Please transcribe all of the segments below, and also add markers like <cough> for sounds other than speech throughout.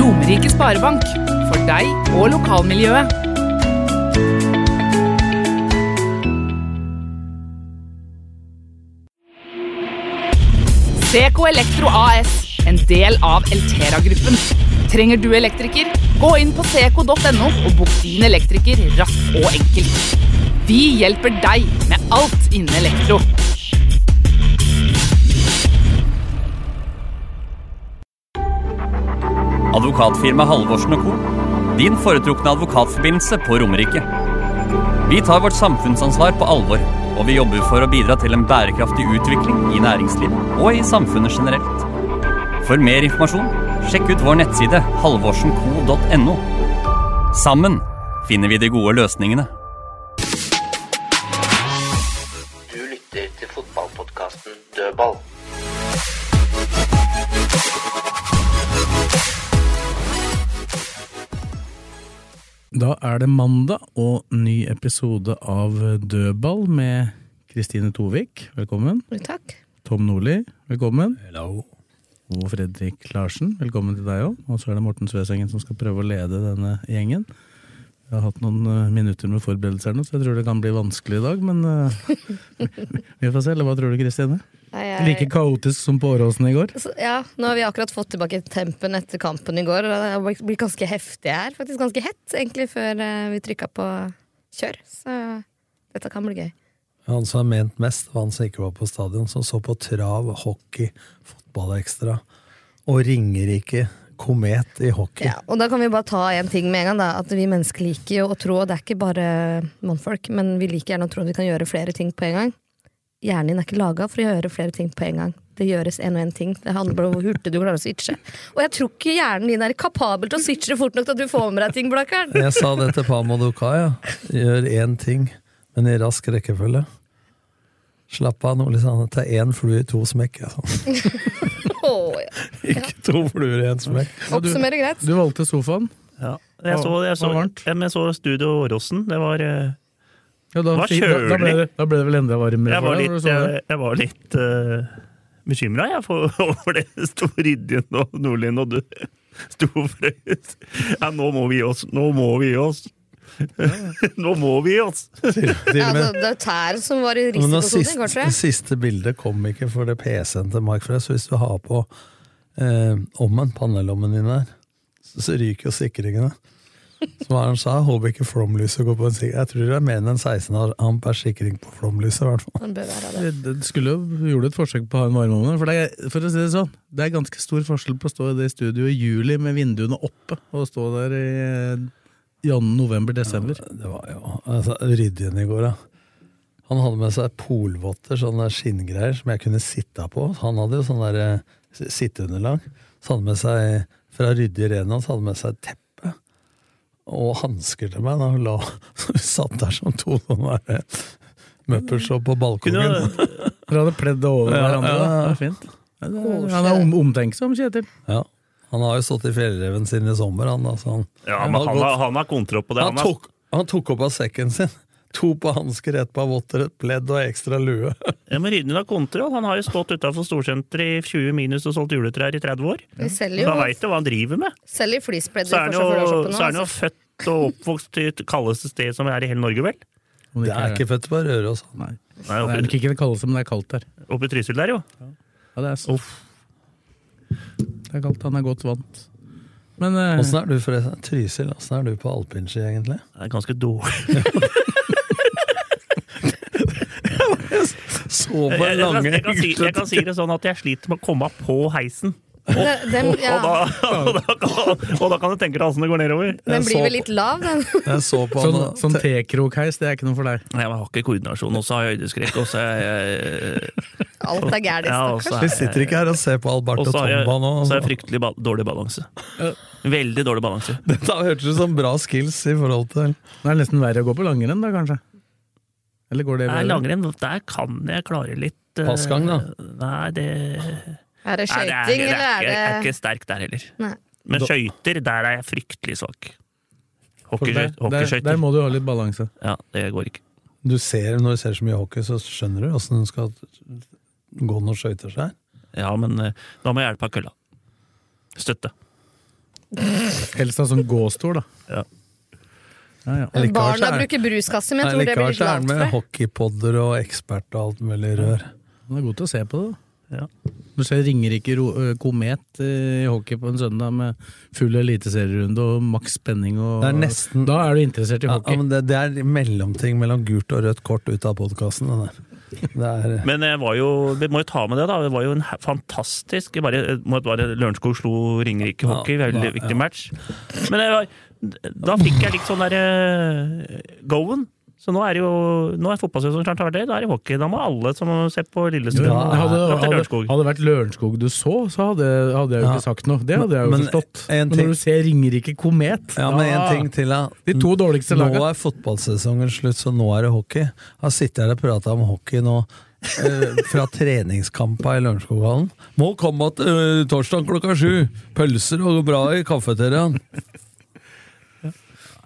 Romerike Sparebank. For deg og lokalmiljøet. Seko Elektro AS, en del av Eltera-gruppen. Trenger du elektriker? Gå inn på seco.no og bok din elektriker raskt og enkelt. Vi hjelper deg med alt innen elektro. Advokatfirma Halvorsen og Co. Din foretrukne advokatforbindelse på Romerike. Vi tar vårt samfunnsansvar på alvor, og vi jobber for å bidra til en bærekraftig utvikling i næringslivet og i samfunnet generelt. For mer informasjon, sjekk ut vår nettside halvorsenco.no. Sammen finner vi de gode løsningene. Du lytter til fotballpodkasten Dødball. Da er det mandag og ny episode av Dødball med Kristine Tovik, velkommen. Takk. Tom Nordli, velkommen. Og Fredrik Larsen, velkommen til deg òg. Og så er det Morten Svesengen som skal prøve å lede denne gjengen. Vi har hatt noen eh, minutter med forberedelser nå, så jeg tror det kan bli vanskelig i dag, men eh, <laughs> vi får se. Eller hva tror du, Kristine? Nei, Like kaotisk som på Åråsen i går? Så- Ja, nå har vi akkurat fått tilbake tempen etter kampen i går. og Det har blitt ganske heftig her. Faktisk ganske hett, egentlig, før eh, vi trykka på kjør. Så dette kan bli gøy. Han som er ment mest, var han som ikke var på stadion, som så på trav, hockey, fotballekstra og Ringerike Komet i hockey. Ja, og da kan vi bare ta en ting med en gang, da. At vi mennesker liker jo å tro, og det er ikke bare mannfolk, men vi liker gjerne å tro at vi kan gjøre flere ting på en gang. Hjernen din er ikke laga for å gjøre flere ting på en gang. Det gjøres en og en ting. Det handler bare om hvor hurtig du klarer å switche. Og jeg tror ikke hjernen din er kapabel til å switche fort nok til at du får med deg ting, Blakkaren. Jeg sa det til Pamo Dukaya. Gjør én ting, men i rask rekkefølge. Slapp av, liksom. Nordli sa han. Ta én flue i to smekk. jeg sa. Åh, ja. <laughs> Ikke to fluer i én smekk. Oppsummerer greit. Du valgte sofaen. Jeg så, jeg så, Det var varmt. ja, men jeg så Studio Åråsen. Det var eh, Ja, da, Hva fikk- da, da, ble det, da ble det vel enda varmere Jeg var for deg? når litt, du så eh, det. Eh, jeg, jeg var litt uh, bekymra jeg, for, <laughs> over det store Rydjen og Nordlien og du <laughs> sto frøs. Ja, nå må vi gi oss! Nå må vi gi oss! <laughs> Nå må vi gi oss! Til og med Altså, det er tær som var i Men det risikosonen, siste, kanskje. det siste bildet kom ikke for det PC-en til Mark Frey, så hvis du har på eh, ommen, pannelommen din her, så, så ryker jo sikringene. Som han sa, håper ikke flomlyset går på en sikring. Jeg tror det er mer enn en 16 ampere sikring på flomlyset, i hvert fall. Han bør være det. Det det skulle jo gjorde et forsøk på å ha en varmeovn. For, det er- for å si det sånn, det er ganske stor forskjell på å stå i det studioet i juli med vinduene oppe, og stå der i eh, jan- november-desember. Det var jo altså, Rydjen i går, da. Han hadde med seg polvotter, sånne skinngreier, som jeg kunne sitte på. Han hadde jo sånn der eh, s- sitteunderlag. Så hadde han med seg, fra Rydje Rena, så hadde han med seg teppe. Og hansker til meg. Da hun la, <laughs> så vi satt der som to sånne der, eh, møppelshop på Kunne, balkongen. Dere hadde pledd det over Ja, hverandre. ja, da. ja. Det er fint. Ja, det er- Han er om, omtenksom, Kjetil. Ja. Han har jo stått i fjellreven sin i sommer, han. da, så han, ja, men han, har- han har kontroll på det. han, Han har, tok, han tok opp av sekken sin. <laughs> To på hansker, ett på votter, et pledd og ekstra lue. ja, men Rydjen har kontroll. Han har jo stått utafor storsenteret i 20 minus og solgt juletrær i 30 år. Vi selger Da jo veit du hva han driver med. selger flispledd i Så er han jo, Forsvarsforsvarshoppen så er han nå. altså. jo født og oppvokst i det kaldeste sted som er i hele Norge, vel? Om Det er ikke født på altså. Røros. han. Nei, Nei, det er nok oppe, ikke det kaldeste, men det er kaldt der. oppe i Trysil der, jo. Ja, det er, det er kaldt. Han er godt vant. Men eh, Åssen er du forresten? Trysil, åssen er du på alpinski egentlig? Det er ganske dårlig. Så på Jeg, jeg, lange jeg, kan si, jeg kan si det sånn at jeg sliter med å komme meg på heisen. Den- den- ja. og, da, og, da kan, og da kan du tenke deg åssen det går nedover. Den blir vel litt lav, den. Jeg så på han sånn, da. sånn tekrokheis, det er ikke noe for deg. Nei, Jeg har ikke koordinasjon, og så har jeg høydeskrekk, og så er jeg Alt er gærent, stakkars. Vi sitter ikke her og ser på Alberto og så har jeg, Tomba nå. og så har jeg <laughs> fryktelig ba dårlig balanse. Veldig dårlig balanse. Dette hørtes ut som bra skills i forhold til Det er nesten verre å gå på langrenn, da, kanskje? Eller går det Nei, bedre? langrenn, der kan jeg klare litt eh, Passgang, da? Nei, det Er Nei, det skøyting, ikke- eller er Jeg er det ikke sterk der heller. Nei. Men skøyter, der er jeg fryktelig svak. Hockeyskøyt- For der, der, der Hockeyskøyter. må du ha litt balanse. Ja, det går ikke. Du ser, Når du ser så mye hockey, så skjønner du åssen du skal gå når skøyter seg. Ja, men eh, da må jeg hjelpe av kølla. Støtte. Helst ha sånn gåstol, da. Ja. Ja, ja. Barna bruker bruskasse, men jeg tror det blir Likevel litt så er lavt han for med deg. hockeypodder og ekspert og alt mulig rør. Han er god til å se på det. da. Du ser Ringerike Ro- ø, Komet eh, i hockey på en søndag med full eliteserierunde og maks spenning. Og, Det er nesten- Da er du interessert i Ja, hockey. ja, men det, det er mellomting mellom gult og rødt kort ut av podkasten. Det er Men jeg var jo, vi må jo ta med det, da. Det var jo en he- fantastisk jeg bare, jeg må bare Lørenskog slo Ringerike hockey, Ja, veldig ja, viktig match. Men jeg, var- da fikk jeg litt sånn derre Goen. Så nå er det jo nå er fotballsesongen snart ferdig, da er det hockey. Da må alle som ser på Jo, Lillestrøm, men hadde, dra til hadde, Lørenskog. hadde det vært Lørenskog du så, så hadde, hadde jeg jo Ja. ikke sagt noe. Det hadde jeg jo Men- forstått. en Men ting- når du ser Ringerike Komet Ja, men da- en ting til, ja. De to dårligste Nå lagene. er fotballsesongen slutt, så nå er det hockey. Jeg har sittet her og prata om hockey nå. eh, fra treningskampa i Lørenskoghallen. Må komme att eh, torsdag klokka sju! Pølser og bra i kafeteriaen.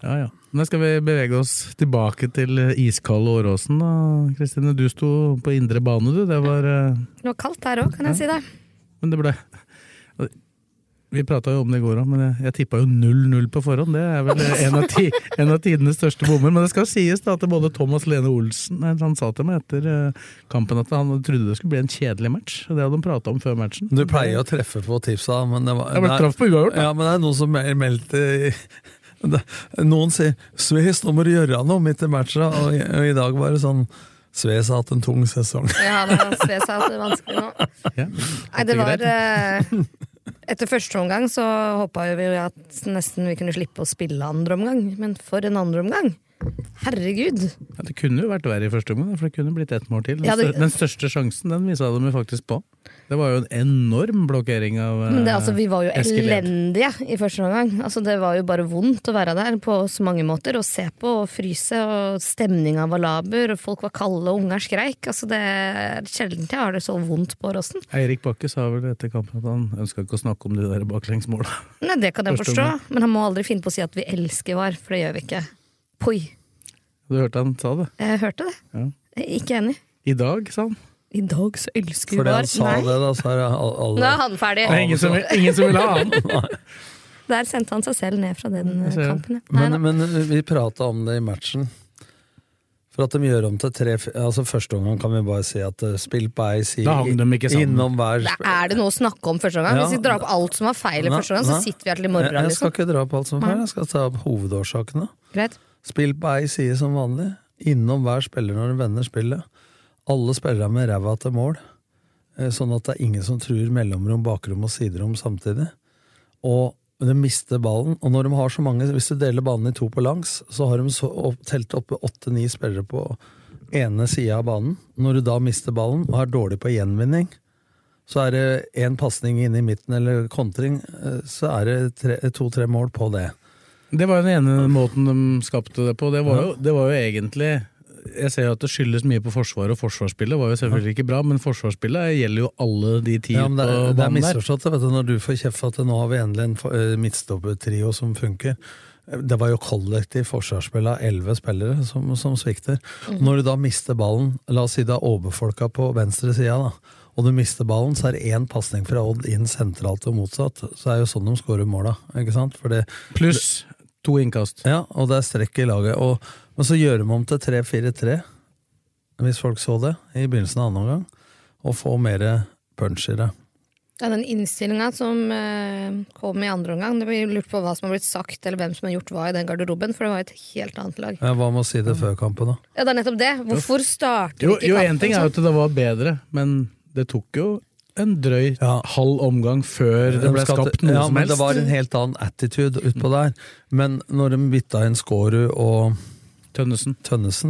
Ja, ja. Nå skal vi bevege oss tilbake til eh, iskalde Åråsen. da, Kristine, du sto på indre bane, du. Det var eh, Det var kaldt her òg, kan jeg si <laughs> det. Men det ble Vi prata jo om det i går òg, men jeg, jeg tippa jo 0-0 på forhånd. Det er vel en av, ti, en av tidenes største bommer. Men det skal sies da at både Thomas Lene Olsen nei, Han sa til meg etter eh, kampen at han trodde det skulle bli en kjedelig match. Det hadde han prata om før matchen. Du pleier å treffe på tipsa, men det var Jeg ble det er- traff på uavgjort, da. Ja, men det er noen som mel- meldte i- det- Noen sier 'Sves, nå må du gjøre noe midt i matcha', og, i- og i dag var det sånn 'Sves har hatt en tung sesong'. Ja, det var Sves sa at det er vanskelig nå. Nei, det var eh, Etter første omgang så håpa vi jo at nesten vi kunne slippe å spille andre omgang, men for en andre omgang! Herregud! Ja, det kunne jo vært verre i første omgang, for det kunne blitt ett mål til. Den, Ja, det- stør- den største sjansen den visa de jo faktisk på. Det var jo en enorm blokkering av eh, Men det, altså, vi var jo Eskil Ed. elendige i første omgang. Altså, det var jo bare vondt å være der på så mange måter. Å se på og fryse, og stemninga var laber, og folk var kalde, og unger skreik. Altså, det er sjelden jeg har det så vondt på Åråsen. Eirik Bakke sa vel etter kampen at han ønska ikke å snakke om de der baklengsmåla. Nei, det kan jeg Første forstå, omgang. men han må aldri finne på å si at vi elsker VAR, for det gjør vi ikke. Poi. Du hørte han sa det? Jeg hørte det. Ja. Jeg er Ikke enig. I dag, sa han. I dag så elsker vi Fordi han VAR. sa det, Nei, da, så er altså det al- alle nå er han ferdig. Det er ingen som, ingen som vil ha han! Der sendte han seg selv ned fra den eh, ser det. kampen. ja. Nei, Men, men vi prata om det i matchen. For at de gjør om til tre altså Første omgang kan vi bare si at eh, spill på ei side. Da hang de ikke sammen. Innom hver da. Er det noe å snakke om første omgang? Ja. Hvis vi drar opp alt som var feil i Nei, første omgang, så nei. sitter vi her til i Jeg, morgen. jeg skal Liksom. ikke dra opp alt som er feil, jeg skal ta opp hovedårsakene. Greit. Spill på ei side som vanlig. Innom hver spiller når de vender spillet. Alle spillere med ræva til mål. eh, Sånn at det er ingen som truer mellomrom, bakrom og siderom samtidig. Og de mister ballen. Og når de har så mange, hvis du deler banen i to på langs, så har de så opp, telt oppe åtte-ni spillere på ene sida av banen. Når du da mister ballen og er dårlig på gjenvinning, så er det én pasning inne i midten eller kontring, eh, så er det tre- to-tre mål på det. Det var jo den ene måten de skapte det på. Det var jo, det var jo egentlig Jeg ser jo at det skyldes mye på Forsvaret, og forsvarsspillet var jo selvfølgelig ikke bra, men forsvarsspillet gjelder jo alle de ti Ja, men det, på er- det er banen der. misforstått det, vet du, når du får kjeft for at nå har vi endelig en for- eh, midtstoppertrio som funker. Det var jo kollektiv forsvarsspill av elleve spillere som, som svikter. Når du da mister ballen, la oss si det er overfolka på venstre sida, da, og du mister ballen, så er det én pasning fra Odd inn sentralt og motsatt. Så er det jo sånn de scorer måla, ikke sant? For det, Pluss to innkast. ja, og det er strekk i laget. Og, men så gjør de om til 3-4-3, hvis folk så det, i begynnelsen av andre omgang, og får mer punch i det. Ja, den innstillinga som eh, kom i andre omgang, det blir lurt på hva som har blitt sagt, eller hvem som har gjort hva i den garderoben, for det var et helt annet lag. Ja, Hva med å si det før kampen, da? Ja, det er nettopp det. Hvorfor starter Jo, vi ikke jo, kampen sånn? én ting er jo at det var bedre, men det tok jo en drøy halv omgang før det De ble skal til- skapt noe ja, som men helst. Det var en helt annen attitude utpå der. Men når de bytta inn Skårud og Tønnesen,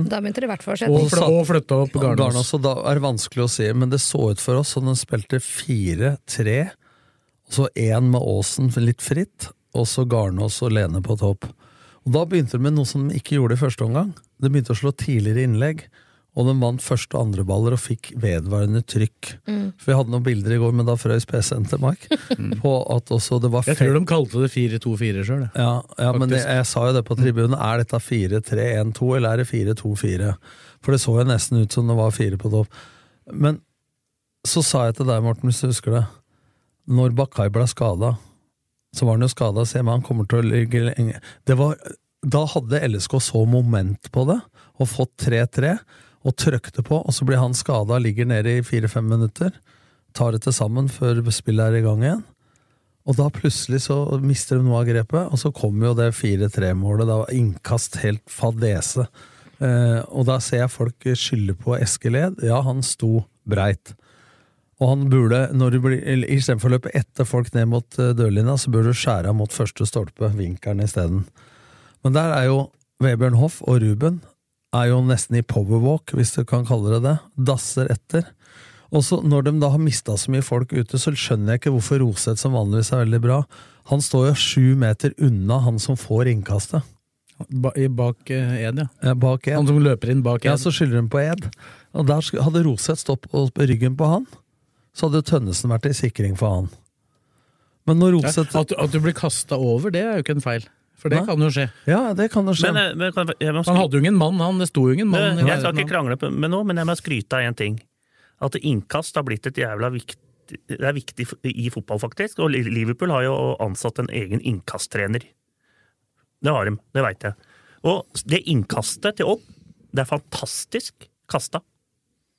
Da begynte det i hvert fall å skje Og ting. fl- og flytta opp Garnås. så da er det vanskelig å si, men det så ut for oss som de spilte 4-3, og så én med Aasen litt fritt, og så Garnås og Lene på topp. Og Da begynte de med noe som de ikke gjorde i første omgang. De begynte å slå tidligere innlegg, og de vant første og andre baller og fikk vedvarende trykk. Mm. For Vi hadde noen bilder i går med da Frøys PC-en til Mark, på at også det var Jeg tror de kalte det 4-2-4 sjøl. ja, ja men det, Faktisk. jeg sa jo det på tribunen. Er dette 4-3-1-2, eller er det 4-2-4? For det så jo nesten ut som det var fire på topp. Men så sa jeg til deg, Morten, hvis du husker det. Når Bakkai ble skada, så var han jo skada, se, men han kommer til å ligge lenge det var, Da hadde LSK så moment på det, og fått 3-3, og trøkte på, og så blir han skada, ligger nede i 4-5 minutter, tar det til sammen før spillet er i gang igjen. Og da plutselig så mister de noe av grepet, og så kommer jo det 4-3-målet. Da var innkast helt fadese. Eh, og da ser jeg folk skylde på Eskeled. Ja, han sto breit. Og han burde, når du blir, eller istedenfor å løpe etter folk ned mot eh, dørlinja, så burde du skjære av mot første stolpe, vinkelen isteden. Men der er jo Vebjørn Hoff og Ruben er jo nesten i powerwalk, hvis du kan kalle det det. Dasser etter. Og så Når de da har mista så mye folk ute, så skjønner jeg ikke hvorfor Roseth, som vanligvis er veldig bra, han står jo sju meter unna han som får innkastet. Ba, i bak eh, Ed, ja. Eh, Bak Ed. Han som løper inn bak Ed. Ja, så skylder hun på Ed. Og der sk- hadde Roseth stått på på ryggen på han, så hadde Tønnesen vært i sikring for han. Men når Ja, Roseth at, at du blir kasta over, det er jo ikke en feil. For det Nei. kan jo skje. Ja, det kan jo skje. Men, eh, men kan jeg- jeg Han må skry- hadde jo ingen mann, han. Det sto jo ingen mann. Men i Jeg skal verden, ikke krangle på- med noe, men jeg må skryte av én ting. At innkast har blitt et jævla viktig det er viktig f- i fotball, faktisk. Og Liverpool har jo ansatt en egen innkasttrener. Det har de, det veit jeg. Og det innkastet til Odd, det er fantastisk kasta.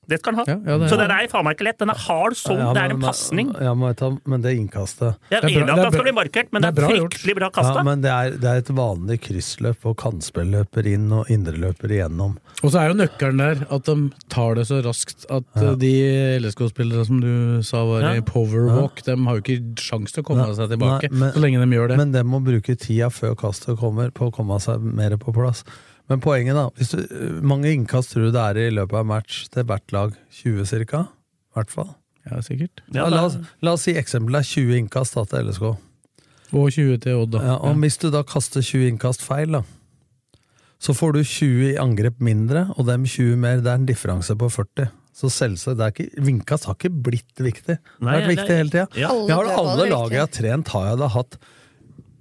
Det skal han ha. ja, det er- så den er faen meg ikke lett. Den er hard som Ja, det er men- en pasning. Ja, men, vet du, men det innkastet Jeg er Det er bra- enig i at det er han skal bra- bli markert, men det er, fryktelig bra kasta. Ja, men det er, det er et vanlig kryssløp, og kantspilløper inn og indreløper igjennom. da. Og så er jo nøkkelen der at de tar det så raskt at eh, de LSK-spillere som du sa var Ja. i powerwalk, de har jo ikke sjans til å komme Nei, seg tilbake. nei, men- så lenge de gjør det. Men de må bruke tida før kastet kommer, på å komme seg mer på plass. Men poenget, da. Hvis du, mange innkast tror du det er i løpet av en match til hvert lag? 20 cirka? I hvert fall. Ja, sikkert. Ja, la, oss, la oss si eksempelet er 20 innkast da, til LSK. Og 20 til Odd, da. Ja, og Hvis du da kaster 20 innkast feil, da, så får du 20 i angrep mindre, og dem 20 mer. Det er en differanse på 40. Så selvsagt, det er ikke, Vinkast har ikke blitt viktig. Det Nei, har vært det- viktig hele tida. Ja. Jeg har Alle alle dødballer er laget jeg har trent, har jeg da hatt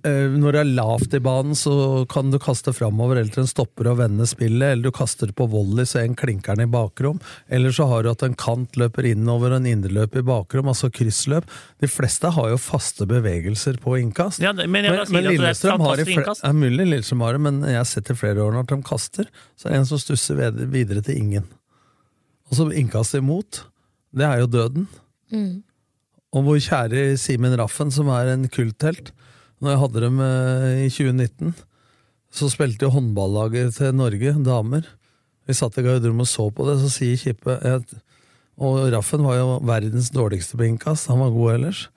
Eh, Når det er lavt i banen, så kan du kaste framover, eller til en stopper og vende spillet, eller du kaster på volley så en klinker den i bakrom, eller så har du at en kant løper innover og en indreløp i bakrom, altså kryssløp. De fleste har jo faste bevegelser på innkast. Ja, det- men jeg bare sier at det er et har i fantastisk fle- innkast. Det er mulig Lillestrøm har det, men jeg har sett i flere år når de kaster, så er det en som stusser ved- videre til ingen. Og så innkast imot, det er jo døden. Og vår kjære Simen Raffen, som er en kulthelt. Når jeg hadde dem eh, i 2019, så spilte jo håndballaget til Norge, damer. Vi satt i garderoben og så på det, så sier Kippe et- Og Raffen var jo verdens dårligste på innkast, han var god ellers.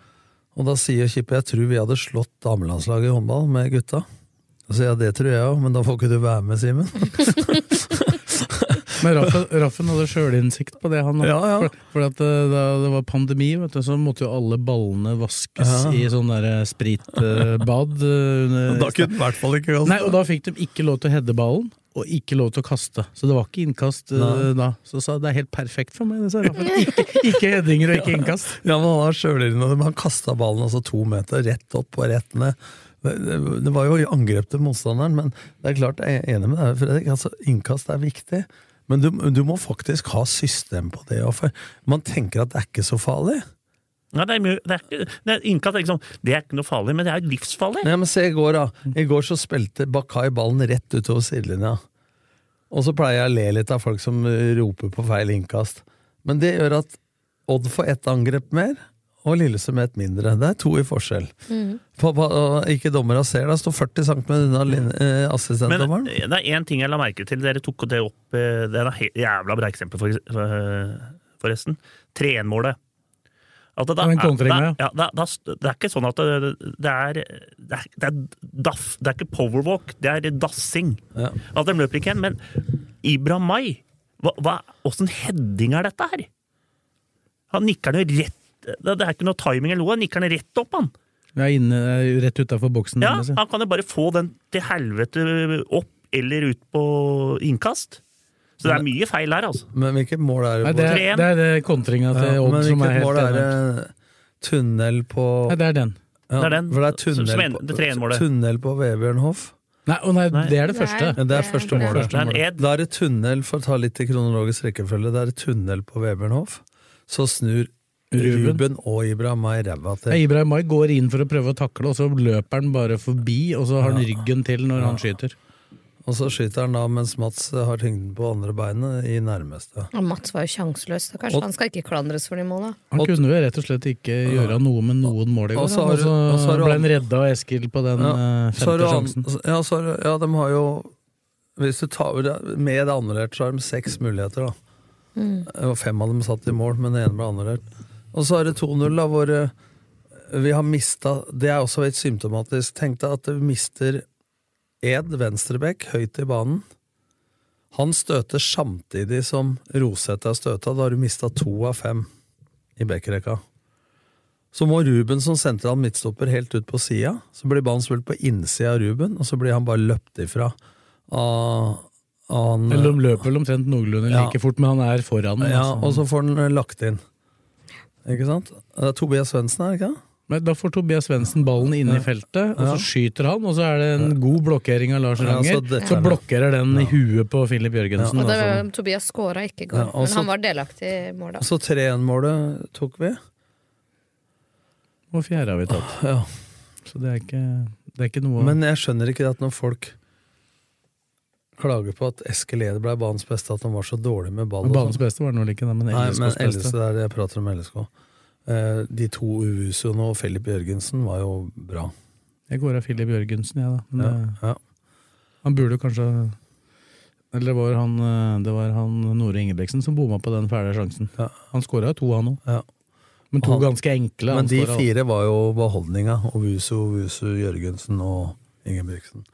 Og da sier Kippe jeg tror vi hadde slått damelandslaget i håndball med gutta. Og så sier jeg det tror jeg òg, men da får ikke du være med, <laughs> Simen. Men Raffen, Raffen hadde sjølinnsikt på det, han. Ja, ja. For, for at eh, da det var pandemi, vet du, så måtte jo alle ballene vaskes Ja. i sånn derre spritbad. eh, Og <laughs> da kunne den i hvert fall ikke kaste. Nei, og da fikk de ikke lov til å heade ballen, og ikke lov til å kaste. Så det var ikke innkast eh, Nei. da. Så sa jeg, det er helt perfekt for meg, det sa Raffen. Ikke, ikke headinger <laughs> og ikke innkast. Ja, men han har sjølinnhold. Han kasta ballen altså to meter rett opp og rett ned. Det, det- det var jo i angrep til motstanderen, men det er klart, jeg er enig med deg, Fredrik. Altså, innkast er viktig. Men du, du må faktisk ha system på det. og for Man tenker at det er ikke så farlig. Ja, det er, mye- det er, ikke- det er innkast er liksom, det er ikke noe farlig, men det er livsfarlig. Nei, men se i går, da. I går så spilte Bakai ballen rett utover sidelinja. Og så pleier jeg å le litt av folk som eh, roper på feil innkast. Men det gjør at Odd får ett angrep mer, og Lillesund ett mindre. Det er to i forskjell. På, på, og ikke dommere ser det, står 40 cm unna lin- eh, Men assistentdommeren. det er én ting jeg la merke til. Dere tok det opp. eh, Det er et jævla bra eksempel, for- for- forresten. 3-1-målet. At det, Ja, den kontringen, det, ja, det, det, det er ikke sånn at det, det er det er, det er, daff, det er ikke powerwalk, det er dassing. At de løper ikke hen. Men Ibra Mai, hva, hva, åssen heading er dette her? Han nikker den jo rett Det det er ikke noe timing eller noe, han nikker den rett opp, han. Vi er inne, eh, rett utafor boksen. Ja, nærmest, han kan jo bare få den til helvete opp eller ut på innkast. Så det er mye feil her, altså. Men hvilket mål er Nei, det? det på- er, det er det kontringa til Ja, Odd men som er hvilket helt mål er det? eh, enormt. Tunnel på Nei, det er den. Ja, Det er den. For det er Som- tunnel, som en- på- det tredje målet. tunnel på Vebjørn Hoff. Nei, å nei, det er det Nei. første. Ja, det er første målet. Første målet. Da er det tunnel, for å ta litt i kronologisk rekkefølge, det er det tunnel på Vebjørn Hoff. Så snur Ruben. Ruben, og Ibra Mai ræva Ja, til. Ibrahim Mai går inn for å prøve å takle, og så løper han bare forbi, og så har han Ja. ryggen til når han Ja. skyter. Og så skyter han da mens Mats har tyngden på andre beinet, i nærmeste. Og Mats var jo sjanseløs. da. Kanskje Og- han skal ikke klandres for de måla. Han kunne jo rett og slett ikke gjøre noe med noen mål i går, Og så han, har og du- og så så har du ble han an- redda av Eskil på den eh, så har femte du an- sjansen. Ja, så har du- ja, de har jo hvis du tar, Med det annullert så har de seks muligheter, da. Og fem av dem satt i mål, men den ene ble annullert. Og så er det 2-0, da, hvor eh, vi har mista Det er også litt symptomatisk. Tenk deg at vi mister Ed Venstrebekk høyt i banen. Han støter samtidig som Roseth er støta. Da har du mista to av fem i bekkerekka. Så må Ruben som sentral midtstopper helt ut på sida. Så blir ballen spilt på innsida av Ruben, og så blir han bare løpt ifra av, av han Eller de løper vel omtrent noenlunde Ja. like fort, men han er foran. ja, altså. og så får den eh, lagt inn. Ikke sant? Det er Tobias Svendsen, er det ikke det? Men da får Tobias Svendsen ballen inne i Ja. feltet, og så Ja. skyter han, og så er det en god blokkering av Lars Ja, Ranger. så dette så er det. blokkerer den i huet på Filip Jørgensen. Og det altså. var jo- Tobias skåra ikke i sånn. Ja, går, altså- og men så- han var delaktig i måla. Så 3-1-målet tok vi. Og fjerde har vi tatt. Ja. Så det er ikke, det er ikke noe Men jeg skjønner ikke at når folk klager på at Eskil Eder ble banens beste, at han var så dårlig med ball. Men og Banens sånn. beste var det vel ikke, da, men Nei, men LSKs LSK, beste. det er det jeg prater om LSK. Eh, De to Uvusoene og Filip Jørgensen var jo bra. Jeg går av Filip Jørgensen, jeg, da. Men, Ja, eh, ja. Han burde kanskje Eller det var han, eh, det var han Nore Ingebrigtsen som bomma på den fæle sjansen. Ja. Han skåra jo to, han òg. Ja. Men to Han- ganske enkle. han Men de scoret, da. fire var jo beholdninga. Ovusu, Ovusu, Jørgensen og Ingebrigtsen.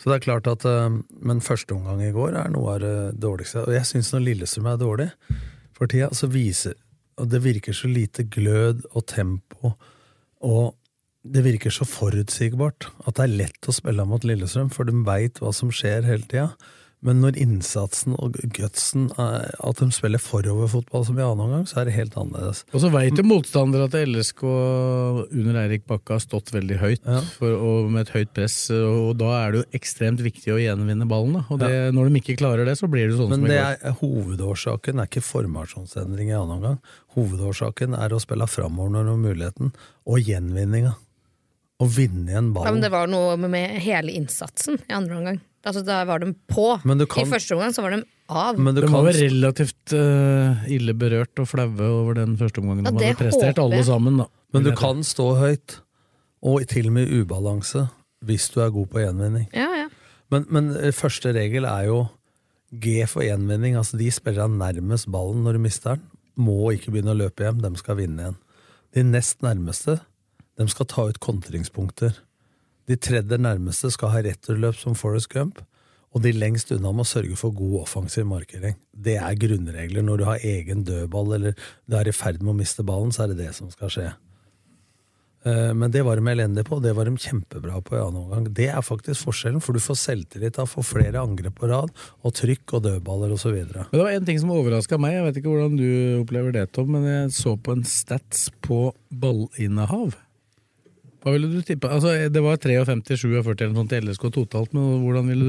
Så det er klart at eh, Men første omgang i går er noe av det dårligste. Og jeg syns når Lillestrøm er dårlig for tida, så viser Og det virker så lite glød og tempo, og det virker så forutsigbart at det er lett å spille mot Lillestrøm, for de veit hva som skjer hele tida. Men når innsatsen og gutsen er at de spiller foroverfotball som i annen omgang, så er det helt annerledes. Og så veit jo motstandere at LSK under Eirik Bakke har stått veldig høyt, Ja. for, og med et høyt press, og da er det jo ekstremt viktig å gjenvinne ballen. Da. Og det, når de ikke klarer det, så blir det sånn Men som i det går. er, hovedårsaken er ikke formasjonsendring i annen omgang. Hovedårsaken er å spille framover når du har muligheten, og gjenvinninga. Å vinne igjen Ja, ballen. men det var noe med hele innsatsen i andre omgang. Altså, da var de på. Men du kan- I første omgang så var de av. Men du De kan, var jo relativt eh, ille berørt og flaue over den første omgangen Ja, de det hadde prestert, håper alle jeg. sammen. da. men du kan stå høyt, og til og med i ubalanse, hvis du er god på gjenvinning. Ja, ja. Men, men eh, første regel er jo G for gjenvinning. Altså de spillerne nærmest ballen når du mister den, må ikke begynne å løpe hjem. De skal vinne igjen. De nest nærmeste de skal ta ut kontringspunkter. De tredje nærmeste skal ha returløp som Forest Gump. Og de lengst unna må sørge for god offensiv markering. Det er grunnregler. Når du har egen dødball eller du er i ferd med å miste ballen, så er det det som skal skje. Eh, Men det var de elendige på, og det var de kjempebra på i annen omgang. Det er faktisk forskjellen, for du får selvtillit av å få flere angrep på rad, og trykk og dødballer osv. Men det var en ting som overraska meg, jeg vet ikke hvordan du opplever det, Tom, men jeg så på en stats på ballinnehav. Hva ville du tippe? Altså, det var 53-47 eller noe sånt i LSK totalt, men hvordan ville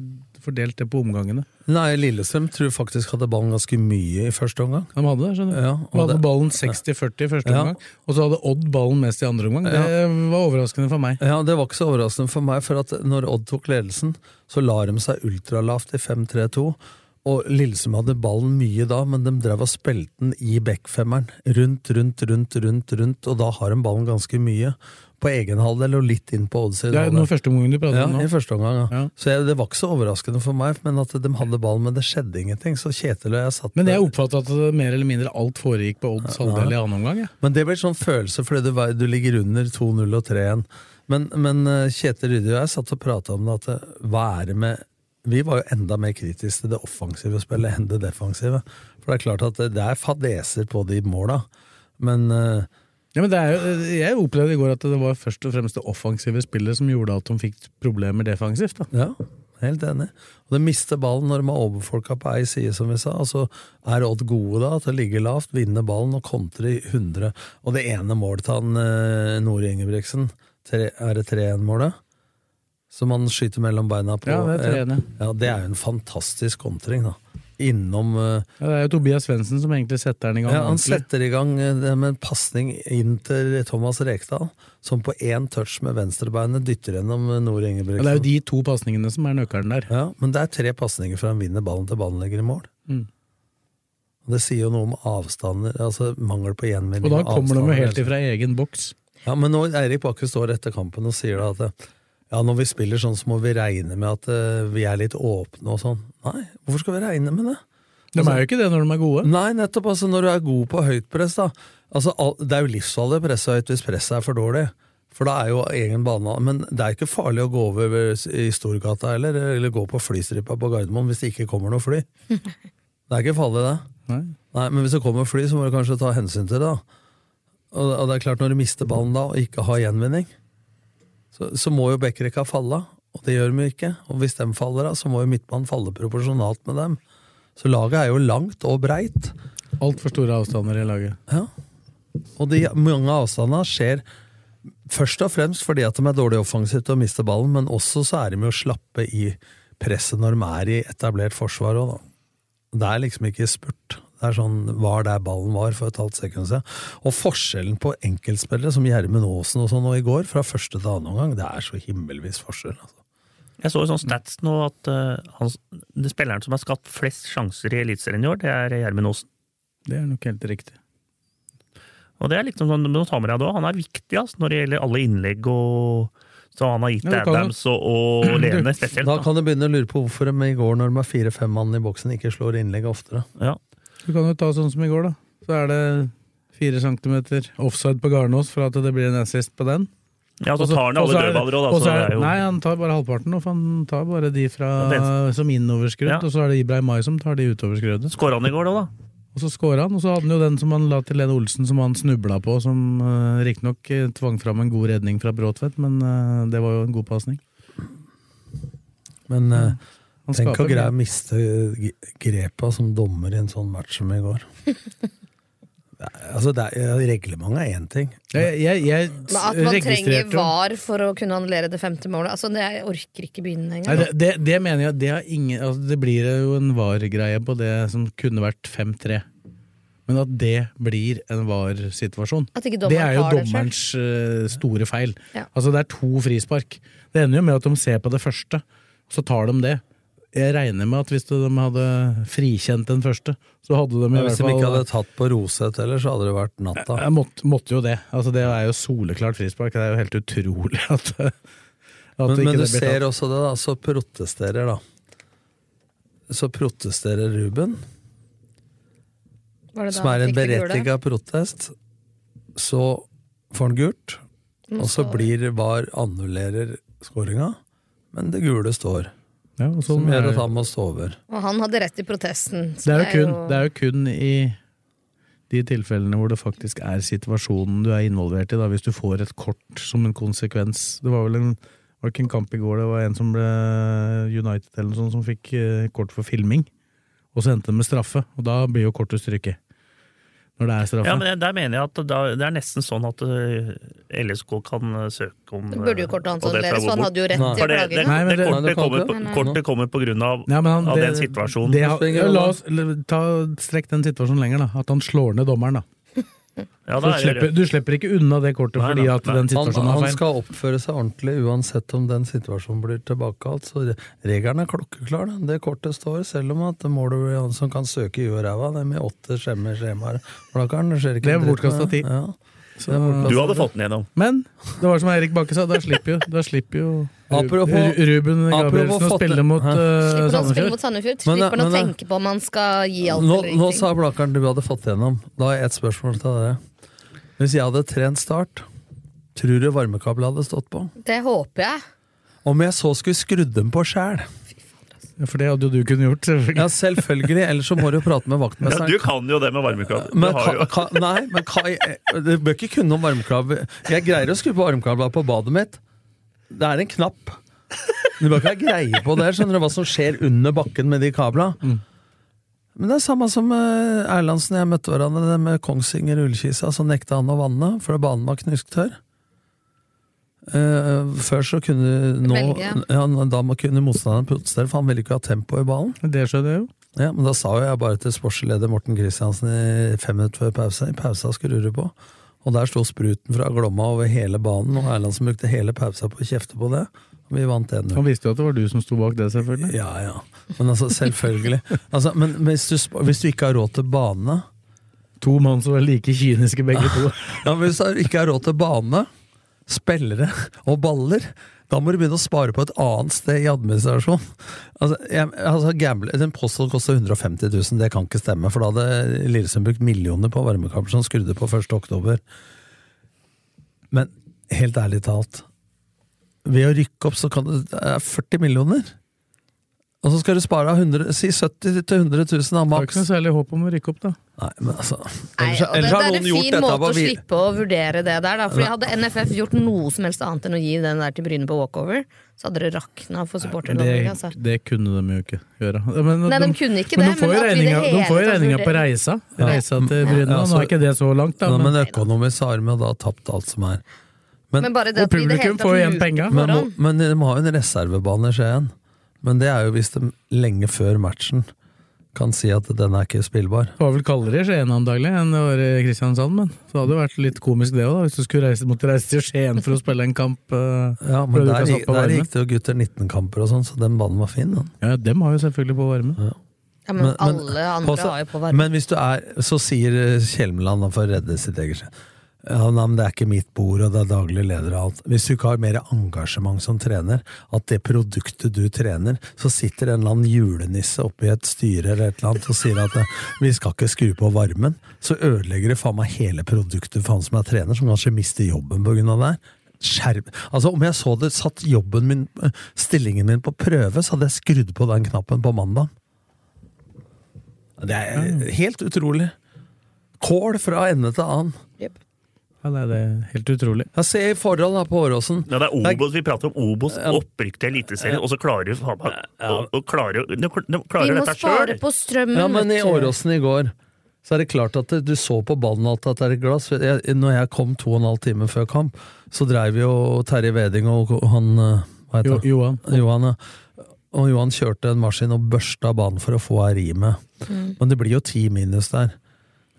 du fordelt det på omgangene? Nei, Lillestrøm tror jeg faktisk hadde ballen ganske mye i første omgang. De hadde det, skjønner du. Ja, De og hadde det- ballen 60-40 i første Ja. omgang, og så hadde Odd ballen mest i andre omgang. Det var overraskende for meg. Ja, Det var ikke så overraskende for meg, for at når Odd tok ledelsen, så la de seg ultralavt i 5-3-2. Og Lillesund hadde ballen mye da, men de drev og spilte den i backfemmeren. Rundt, rundt, rundt, rundt, rundt, og da har de ballen ganske mye. På egen halvdel og litt inn på Odds. Det er nå første omgangen du prater ja, om nå. i første omgang, ja. Så jeg, det var ikke så overraskende for meg, men at de hadde ballen, men det skjedde ingenting. Så Kjetil og jeg satt Men jeg oppfatta at det mer eller mindre alt foregikk på Odds halvdel i annen omgang. Ja. Men det blir sånn følelse, fordi du, vei- du ligger under 2-0 og 3-1. Men, men eh, Kjetil Rydde og jeg satt og prata om det, at eh, hva er det med Vi var jo enda mer kritiske til det offensive spillet enn det defensive. For det er klart at det det er fadeser på de måla, men eh, Ja, men det er jo, jeg opplevde i går at det var først og fremst det offensive spillet som gjorde at de fikk problemer defensivt. Da. Ja, helt enig. Og de mister ballen når de har overfolka på ei side, som vi sa. Og så er Odd gode da til å ligge lavt, vinne ballen og kontre i 100. Og det ene målet til han eh, Nore Ingebrigtsen, tre, er det 3-1-målet? Som han skyter mellom beina på. Eh, Ja, det er 3-1, ja. det er jo en fantastisk kontring, da. Innom eh, Ja, det er jo Tobias Svendsen som egentlig setter den i gang. ja, han ordentlig. setter i gang eh, det med en pasning inn til Thomas Rekdal, som på én touch med venstrebeinet dytter gjennom eh, Nore Ja, Ingebrigtsen. det er jo de to pasningene som er nøkkelen der. Ja, men det er tre pasninger fra han vinner ballen til ballen legger i mål. Mm. Og Det sier jo noe om avstander, altså mangel på gjenvinning. Og da kommer de jo avstander. altså. helt ifra egen boks. Ja, men når Eirik Bakke står etter kampen og sier da at eh, ja, når vi spiller sånn så må vi regne med at eh, vi er litt åpne og sånn. Nei, hvorfor skal vi regne med det? De er jo ikke det når de er gode. Nei, nettopp. altså Når du er god på høyt press, da. Altså, al- det er jo livsfarlig å presse høyt hvis presset er for dårlig. For da er jo egen bane Men det er ikke farlig å gå over ved- i Storgata heller, eller gå på flystripa på Gardermoen hvis det ikke kommer noe fly. Det er ikke farlig, det. Nei. Men hvis det kommer fly, så må du kanskje ta hensyn til det. da. Og, og det er klart, når du mister ballen da, og ikke har gjenvinning, så, så må jo backrekka falle. Og det gjør de jo ikke. Og hvis de faller av, så må jo midtbanen falle proporsjonalt med dem. Så laget er jo langt og breit. Altfor store avstander i laget. Ja. Og de mange avstandene skjer først og fremst fordi at de er dårlig offensivt og mister ballen, men også så er de jo slappe i presset når de er i etablert forsvar òg, da. Det er liksom ikke spurt. Det er sånn var der ballen var for et halvt sekund siden. Og forskjellen på enkeltspillere som Gjermund Aasen og sånn nå i går, fra første til annen omgang, det er så himmelvis forskjell. Altså. Jeg så jo sånn stats nå at eh, han, det spilleren som har skapt flest sjanser i Eliteserien i år, det er Gjermund Aasen. Det er nok helt riktig. Og det er liksom sånn, nå tar med deg det også. Han er viktig altså, når det gjelder alle innlegg og som han har gitt Ja, det kan Adams og, <clears throat> og Lene spesielt. Da da. kan du begynne å lure på hvorfor de i går, når de er fire-fem mann i boksen, ikke slår innlegg oftere. Du kan jo ta sånn som i går, da. Så er det fire centimeter offside på Garnås for at det blir en assist på den. Ja, så Og tar han alle og så er- dødballer også, da, og så så er- det er jo- Nei, han tar bare halvparten, og for han tar bare de fra, Ja, den- som innoverskrudd, Ja. og så er det Ibrahim Mai som tar de utoverskruddet. Skåra han i går, da? da? Og så skåra han, og så hadde han jo den som han la til Lene Olsen, som han snubla på, som uh, riktignok eh, tvang fram en god redning fra Bråtvedt, men eh, det var jo en god pasning. Men eh, Han tenk skaper å greie mye. å miste g- grepa som dommer i en sånn match som i <laughs> går. Det er- altså, det er, ja, reglementet er én ting. Jeg, jeg, jeg Men at man trenger VAR for å kunne annullere det femte målet, altså det jeg orker ikke begynne Nei, engang. det, det, det mener jeg det, har ingen, altså det blir jo en VAR-greie på det som kunne vært 5-3. Men at det blir en VAR-situasjon, At ikke dommeren det er jo har det selv. dommerens eh, store feil. Ja. Altså Det er to frispark. Det ender jo med at de ser på det første, så tar de det. Jeg regner med at hvis de hadde frikjent den første, så hadde de i Men hvert hvis de ikke fall eh, hadde tatt på Roseth heller, så hadde det vært natta. jeg måtte, måtte jo det. Altså Det er jo soleklart frispark. Det er jo helt utrolig <laughs> at, at Men, ikke men du det blir tatt. ser også det, da. Så protesterer, da. Så protesterer Ruben, Var det da som han er en fikk det gule? berettiga protest. Så får han gult, Mm, og så så- blir VAR annullerer skåringa, men det gule står. Ja, og sånn som er gjør det. at han må stå over. Og han hadde rett i protesten. så Det er, jo kun, det er jo kun i de tilfellene hvor det faktisk er situasjonen du er involvert i, da, hvis du får et kort som en konsekvens. Det var vel en, var det ikke en kamp i går det var en som ble United eller noe sånt, som fikk eh, kort for filming, og så endte det med straffe. Og da blir jo kortet stryket. Når det er straffe. Ja, men jeg- Der mener jeg at da, det er nesten sånn at øh, LSK kan øh, søke om Det burde jo øh, kortet hans og det annulleres, fra for han Robot. hadde jo rett til For det, klagingen. det, Nei, men det, det- kortet, det kommer kortet- på, Nei, nei. kortet kommer på grunn av, Ja, men han- av den det- situasjonen. det har- la oss la- ta, strekk den situasjonen lenger, da. At han slår ned dommeren, da. Så Ja, da du, er det slipper, rødt. du slipper ikke unna det kortet Nei, fordi nei, at nei. den Han, situasjonen han er feil. skal oppføre seg ordentlig uansett om den situasjonen blir tilbakekalt. Så re- regelen er klokkeklar. da. Det kortet står, selv om at Morder er han som kan søke i huet og ræva. Det er med åtte skjemme skjemaer. For da kan det skjer ikke Det er en dritt med bortkastet det. tid. Ja. Det Mm. er bortkastet Du hadde tid. fått den gjennom. Men det var som Eirik Bakke sa, da slipper jo, da slipper jo <laughs> Ru- Ru- Apropos- Ruben apropos Gabrielsen å fått spille det- mot Hæ? uh, Slipper han å spille Sandefjord. mot Sandefjord? Men, Slipper han men, å eh, tenke på om han skal gi alt Nå, eller nå ingenting? sa Blakeren du hadde fått gjennom. Da har jeg et spørsmål til dere. Hvis jeg hadde trent start, tror du varmekabelen hadde stått på? Det håper jeg. Om jeg så skulle skrudd dem på sjæl? Ja, For det hadde jo du kunnet gjort, selvfølgelig. Ja, selvfølgelig. Ellers så må du jo prate med Ja, vaktmesteren. du kan jo det med varmekabel. Du Men har ka, jo- ka, nei, men ka, du bør ikke kunne om varmekabel. Jeg greier å skru på varmekabelen på badet mitt. Det er en knapp. Du bør ikke ha greie på det. Skjønner du hva som skjer under bakken med de kabla? Mm. Men det er samme som eh, Erlandsen og jeg møtte hverandre det med Kongsvinger ullkisa. Så nekta han å vanne, for banen var knusktørr. Eh, før så kunne nå, Velge. ja, Da må kunne motstanderen protestere, for han ville ikke ha tempo i ballen. Det skjønner jeg jo. Ja, men da sa jo jeg bare til sportsleder Morten Kristiansen i fem minutter før pause. I pausa skrur du på. Og der sto spruten fra Glomma over hele banen, og Erlandsen brukte hele pausa på å kjefte på det. Og vi vant 1-0. Han visste jo at det var du som sto bak det, selvfølgelig. Ja, ja. Men altså, selvfølgelig. Altså, men hvis du, sp- hvis du ikke har råd til bane To mann som var like kyniske begge <laughs> to. ja, men Hvis du ikke har råd til bane, spillere og baller, da må du begynne å spare på et annet sted i administrasjon. Altså, jeg, altså gamble, Den posten koster 150 000, det kan ikke stemme, for da hadde Lillesund brukt millioner på varmekabler som skrudde på 1. oktober. Men helt ærlig talt, ved å rykke opp så kan du det er 40 millioner. Og så skal du spare av 100, si 70 000 til 100 000 av Det var ikke maks. noe særlig håp om å rykke opp, da. Nei, men altså Nei, ellers- og det, ellers det har er noen en gjort fin dette måte på å vi- slippe å vurdere det der, da. Fordi hadde NFF gjort noe som helst annet enn å gi den der til Bryne på walkover, så hadde det rakna for supporterne. det, altså. det kunne de jo ikke gjøre. Men, Nei, de kunne ikke men det, de får men jo at vi i det regninga, de hele får jo tatt regninga på vurderer- reisa. Reisa til Bryne. Ja, Nå så- er ikke det så langt, da. Ja, altså. Men, men økonomisk har de jo da tapt alt som er. Men, Men bare det og at vi i det publikum hele tatt får igjen lurte penga. på men, forhånd. må- men de har jo en reservebane i Skien. Men det er jo hvis de lenge før matchen kan si at den er ikke spillbar. det var vel kaldere i Skien antagelig enn det var i Kristiansand, men så hadde det vært litt komisk det òg, da. Hvis du skulle reise, måtte reise til Skien for å spille en kamp. eh, Ja, fordi men du ikke der, har satt gikk- på der varmen. gikk det jo gutter 19-kamper og sånn, så den banen var fin. Den. Ja, dem har jo selvfølgelig på varmen. Ja, men, Men- men- alle andre også- har jo på varme. Men hvis du er, så sier eh, Kjelmeland, da, for å redde sitt eget skjedd ja, nei, men Det er ikke mitt bord, og det er daglig leder og alt. Hvis du ikke har mer engasjement som trener, at det produktet du trener, så sitter en eller annen julenisse oppe i et styre eller et eller annet og sier at eh, vi skal ikke skru på varmen, så ødelegger det faen meg hele produktet for han som er trener, som kanskje mister jobben på grunn av det. her. Skjerm. Altså, om jeg så det satt jobben min, eh, stillingen min på prøve, så hadde jeg skrudd på den knappen på mandag. Det er eh, helt utrolig. Kål fra ende til annen. Ja, nei, det er helt utrolig. Jeg ser forhold da på Åråsen. Ja, det er Obos, Vi prater om Obos, opprykk til Eliteserien, og så klarer du faen meg å- å klare å- De de Vi klarer må dette spare sjøl! på strømmen. Ja, men i vet du. Åråsen i går så er det klart at det- du så på ballen alt at det er et glass. Jeg, når jeg kom to og en halv time før kamp, så dreiv jo Terje Veding og og han eh, Hva heter Jo, han? Johan. Johan, ja. Og Johan kjørte en maskin og børsta banen for å få ei rime. Mm. Men det blir jo ti minus der.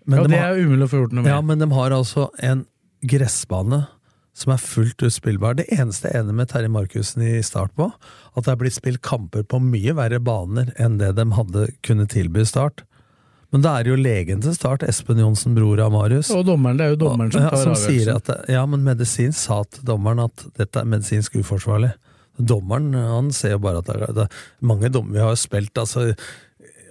Men Ja, de det har- er jo umulig å få gjort noe med. Ja, men de har altså en gressbane som er fullt ut spillbar. Det eneste jeg er enig med Terje Markussen i start på, at det er blitt spilt kamper på mye verre baner enn det de hadde kunne tilby Start. Men det er jo legen til Start, Espen Johnsen, bror av Marius. Og dommeren, det er jo dommeren som Ja, tar som sier avgjørelsen. at Ja, men medisin sa til dommeren at dette er medisinsk uforsvarlig. Dommeren han ser jo bare at det er, det er mange dommer Vi har jo spilt altså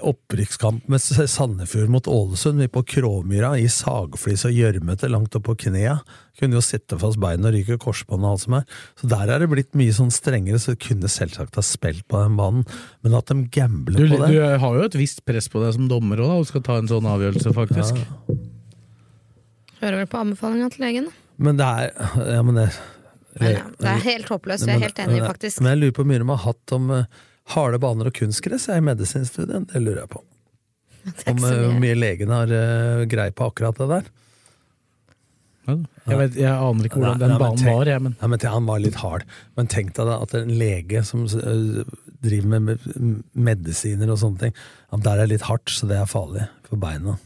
opprykkskamp med Sandefjord mot Ålesund. Vi på Kråmyra i sagflis og gjørmete langt opp på knea. Kunne jo sitte fast beina og ryke korsbånd og alt som er. Så der er det blitt mye sånn strengere, så de kunne selvsagt ha spilt på den banen. Men at de Du, gambler på det du har jo et visst press på deg som dommer òg, og skal ta en sånn avgjørelse, faktisk. Hører vel på anbefalinga til legen. da. Men det er Ja, men det Nei, ja, Det er helt håpløst, jeg er helt enig, men- faktisk. Men jeg lurer på hvor mye de har hatt om eh, harde baner og kunstgress jeg, i medisinstudien. Det lurer jeg på. Det er Om ikke eh, så hvor mye. mye legen har eh, greie på akkurat det der. Ja. Jeg, vet, jeg aner ikke hvordan Nei, den nei, men banen tenk- var, jeg, men Nei, men tenk, Han var litt hard, men tenk deg da at en lege som eh, driver med med- medisiner og sånne ting, at der er litt hardt, så det er farlig for beina.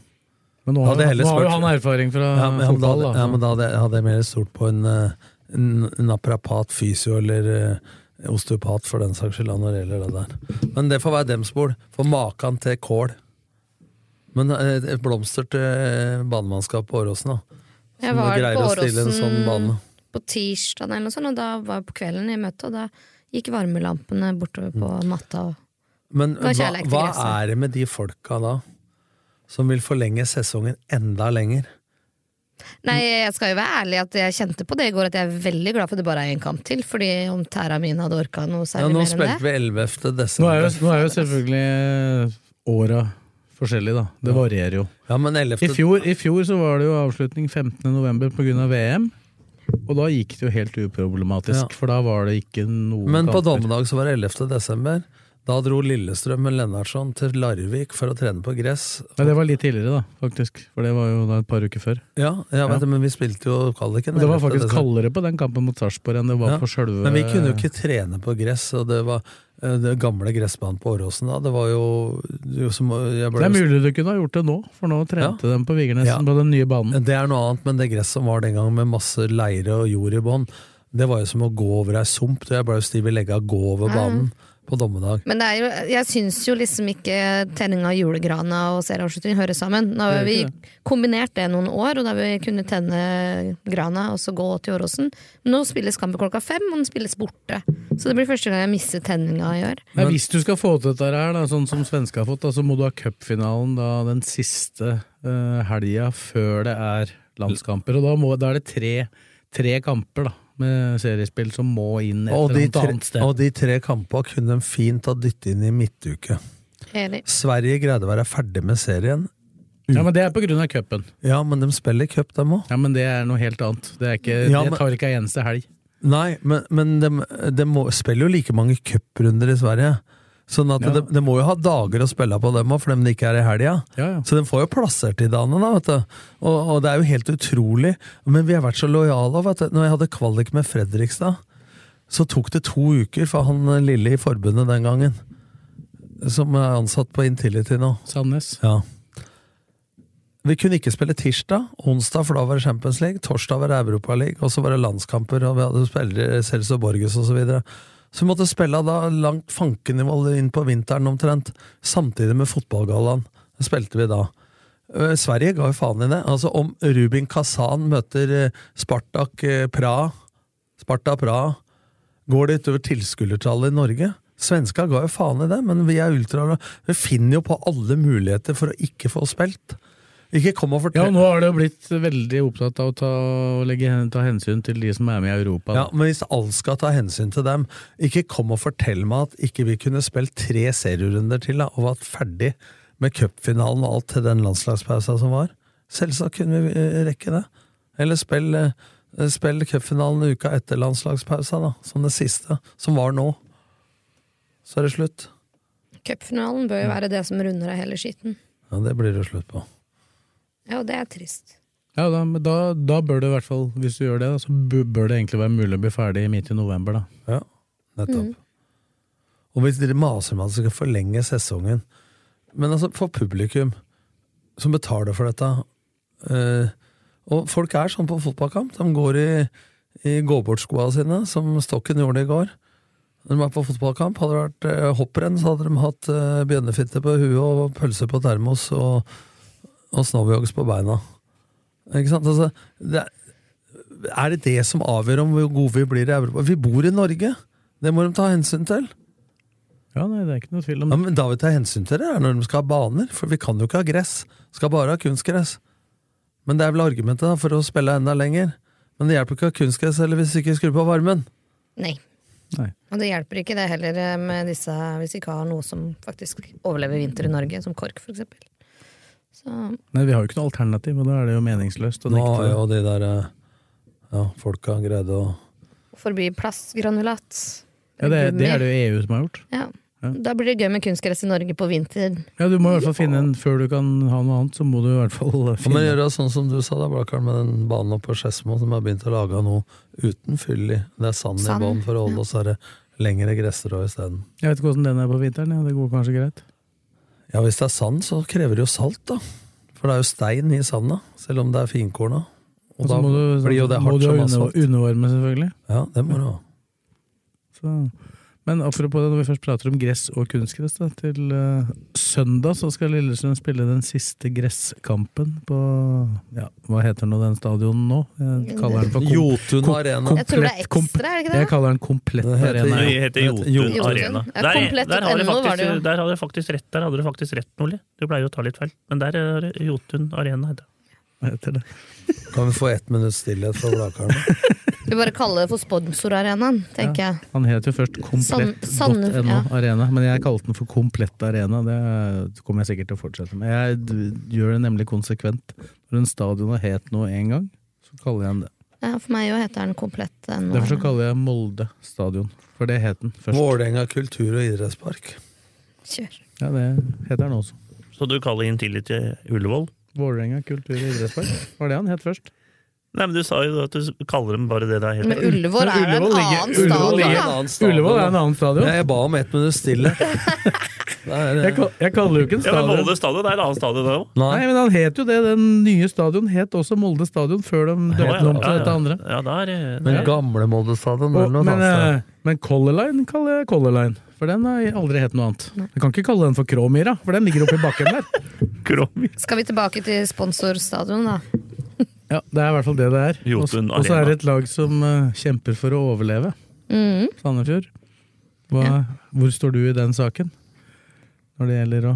Men nå Da har, hadde jeg heller nå har jo spurt- han erfaring fra ja, men, fotball, da. da. hadde- Ja, men da hadde jeg, hadde jeg mer stolt på en, eh, en, en naprapat fysio eller eh, osteopat for den saks skyld da, når det gjelder det der. Men det får være dems bord. For maken til kål. Men eh, et blomster til eh, banemannskapet på Åråsen, da. Jeg Som var greier på å stille en Åråsen sånn bane. på tirsdag eller noe sånt, og da var jeg på kvelden i møtet, og da gikk varmelampene bortover på Mm. matta. og- Men Det var hva, kjærlighet til hva gresset. er det med de folka da, som vil forlenge sesongen enda lenger? Nei, jeg skal jo være ærlig at jeg kjente på det i går, at jeg er veldig glad for at det bare er én kamp til, fordi om tæra mine hadde orka noe Ja, særlig nå mer enn det spilte vi 11. Nå er, desember. jo, nå er jo selvfølgelig eh, åra forskjellige, da. Det varierer jo. Ja, men 11. I fjor, I fjor så var det jo avslutning 15.11. pga. VM. Og da gikk det jo helt uproblematisk, for da var det ikke noe Men på kamper. dommedag så var det 11. desember. Da dro Lillestrøm og Lennartson til Larvik for å trene på gress. Nei, det var litt tidligere, da, faktisk. For det var jo da et par uker før. Ja, jeg vet Ja. det, men vi spilte jo kvaliken. Og det var 11. faktisk desember. kaldere på den kampen mot Sarpsborg enn det var Ja, på sjølve Men vi kunne jo ikke trene på gress, og det var eh, det gamle gressbanen på Åråsen da. Det var jo, det var jo som, jeg Det ble, er mulig du kunne ha gjort det nå, for nå trente de på Vigernesen på den nye banen. Det er noe annet, men det gresset som var den gangen med masse leire og jord i bånn, det var jo som å gå over ei sump. Jeg ble jo stiv i legga av å gå over Ja, ja. banen på dommedag. Men det er jo, jeg syns jo liksom ikke tenning av julegrana og serieavslutning hører sammen. Nå har Det vi gjør ikke kombinert det noen år, og da har vi kunnet tenne grana og så gå til Åråsen. Nå spilles kampen klokka fem, og den spilles borte. Så det blir første gang jeg misser tenninga i år. Nei, hvis du skal få til dette her, da, sånn som svenska har fått, da, så må du ha cupfinalen da, den siste uh, helga før det er landskamper. Og da, må, da er det tre, tre kamper da, med seriespill som må inn et Og eller de, annet tre, annet sted. og de tre kampene kunne de fint ha dyttet inn i midtuke. Enig. Sverige greide å være ferdig med serien. Ja, men Det er på grunn av cupen. Ja, men de spiller cup, dem òg. Ja, men det er noe helt annet. Det, er ikke, Ja, men- det tar ikke ei eneste helg. Nei, men, men de, de må, spiller jo like mange cuprunder i Sverige. Sånn at Ja. de, de må jo ha dager å spille på dem òg, for dem det ikke er i helga. Ja, ja. Så de får jo plassert de dagene, da, vet du. Og, og det er jo helt utrolig. Men vi har vært så lojale. Vet du. Når jeg hadde kvalik med Fredrikstad, så tok det to uker for han lille i forbundet den gangen. Som er ansatt på Intility nå. Sandnes. Ja. Vi kunne ikke spille tirsdag, onsdag, for da var det Champions League, torsdag var det Europa League, og så var det landskamper, og vi hadde spillere Celso Borges osv. Så, videre. så vi måtte spille da langt fankenivå inn på vinteren omtrent, samtidig med fotballgallaen. Det spilte vi da. Eh, Sverige ga jo faen i det. Altså Om Rubin Kazan møter eh, Spartak eh, Praha, Sparta Praha, går det utover tilskuertallet i Norge? Svenska ga jo faen i det, men vi er ultra... Vi finner jo på alle muligheter for å ikke få spilt. Ikke kom og Ja, fortell og Nå har det jo blitt veldig opptatt av å ta, å legge, ta hensyn til de som er med i Europa. da. Ja, men hvis alt skal ta hensyn til dem, ikke kom og fortell meg at ikke vi kunne spilt tre serierunder til da, og vært ferdig med cupfinalen og alt til den landslagspausa som var. Selvsagt kunne vi eh, rekke det. Eller spill, eh, spill cupfinalen uka etter landslagspausa, da, som det siste, som var nå. Så er det slutt. Cupfinalen bør jo være det som runder av hele skiten. Ja, det blir det slutt på. Ja, og det er trist. Ja, da, men da, da bør det i hvert fall, hvis du gjør det, da, så bu- bør det egentlig være mulig å bli ferdig midt i november, da. Ja, nettopp. Og hvis dere maser om at dere skal forlenge sesongen Men altså, for publikum som betaler for dette eh, Og folk er sånn på fotballkamp. De går i, i gåbortskoa sine, som Stokken gjorde i går. Når de er på fotballkamp, hadde det vært eh, hopprenn, så hadde de hatt eh, bjønnefitte på huet og pølse på termos og, og snowyogs på beina. Ikke sant? Altså, det, er- er det det som avgjør om hvor gode vi blir i Europa? Vi bor i Norge! Det må de ta hensyn til. Ja, nei, det er ikke noe tvil om Ja, men Da vi tar hensyn til det, er når de skal ha baner, for vi kan jo ikke ha gress. Skal bare ha kunstgress. Men det er vel argumentet da, for å spille enda lenger. Men det hjelper ikke å ha kunstgress eller hvis vi ikke skrur på varmen. Nei. Nei. Og det hjelper ikke det heller eh, med disse, hvis vi ikke har noe som faktisk overlever vinter i Norge, som kork for eksempel. Så Nei, vi har jo ikke noe alternativ, og da er det jo meningsløst å Nå nekte har det. jo de der eh, ja, folka greid å forby plastgranulat. Ja, det, det er det jo EU som har gjort. Ja. Ja. Da blir det gøy med kunstgress i Norge på vinter. Ja, du må i hvert fall finne en Før du kan ha noe annet, så må du i hvert fall <laughs> Kan man finne gjøre sånn som du sa, da, Blakkaren, med den banen oppe på Skedsmo som har begynt å lage noe uten fyll i? Det er sand, Sand, i bånn for å holde oss her lengre gresstrå isteden. Jeg vet ikke hvordan den er på vinteren, ja. det går kanskje greit. Ja, hvis det er sand, så krever det jo salt, da. For For det er jo stein i sanda, selv om det er finkorna. Og Og så da Altså, må du, blir jo det må hardt du som ha under, asfalt. undervarme, selvfølgelig. Ja, det må du ha. Så. Men apropos det, når vi først prater om gress og kunstgress, da, til eh, søndag så skal Lillesund spille den siste gresskampen på ja, Hva heter nå den stadionen nå? Jeg kaller den for Jotun Arena. Jeg tror det er ekstra, er det ikke det? Jeg kaller den Komplett Det heter- Arena. Det heter Jotun Jotun. Arena. Ja, Der, komplett der, har dere punktum no var det faktisk, jo. der har dere faktisk rett, der hadde dere faktisk rett, Nordli. Du pleier jo å ta litt feil. Men der er det Jotun Arena. heter det. Hva heter det? Kan vi få ett minutts stillhet for Blakarna? Vi bare kaller det for sponsorarenaen, tenker jeg. Han het jo først Sand- komplett.no Sand- ja. Arena, men jeg kalte den for Komplett Arena. Det kommer jeg sikkert til å fortsette med. Jeg d- gjør det nemlig konsekvent. Når en stadion har het noe én gang, så kaller jeg den det. Ja, for meg jo heter den komplett eh, nå. Derfor så kaller jeg Molde stadion, for det het den først. Vålerenga kultur- og idrettspark. Kjør. Ja, det heter den også. Så du kaller inn tillit til eh, Ullevål? Vålerenga kultur- og idrettspark var det han het først. Nei, men Du sa jo at du kaller dem bare det det er. helt- Men Ullevål er jo en Ullevål ligger- annen Ullevål stadion, ligger- da. Ullevål er en annen stadion. Jeg ba om ett minutts stillhet. Det er, Jeg, kal- jeg kaller jo ikke en Ja, men stadion. Molde stadion er et annet stadion, det òg. nei, Nei, men han het jo det. Den nye stadion het også Molde stadion før de døpte den om til dette andre. Ja, der, er- men der. er- gamle Molde stadion Og, eller noe men, annet sted. eh, men Color Line kaller jeg Color Line. For den har aldri hett noe annet. Jeg kan ikke kalle den for Kråmyra, for den ligger oppi bakken der. Krom. Skal vi tilbake til sponsorstadion, da? Ja, Det er i hvert fall det det er. Og så Jotun og så er Arena. det et lag som eh, kjemper for å overleve. Mm. Sandefjord. Hva, Hvor står du i den saken? Når det gjelder å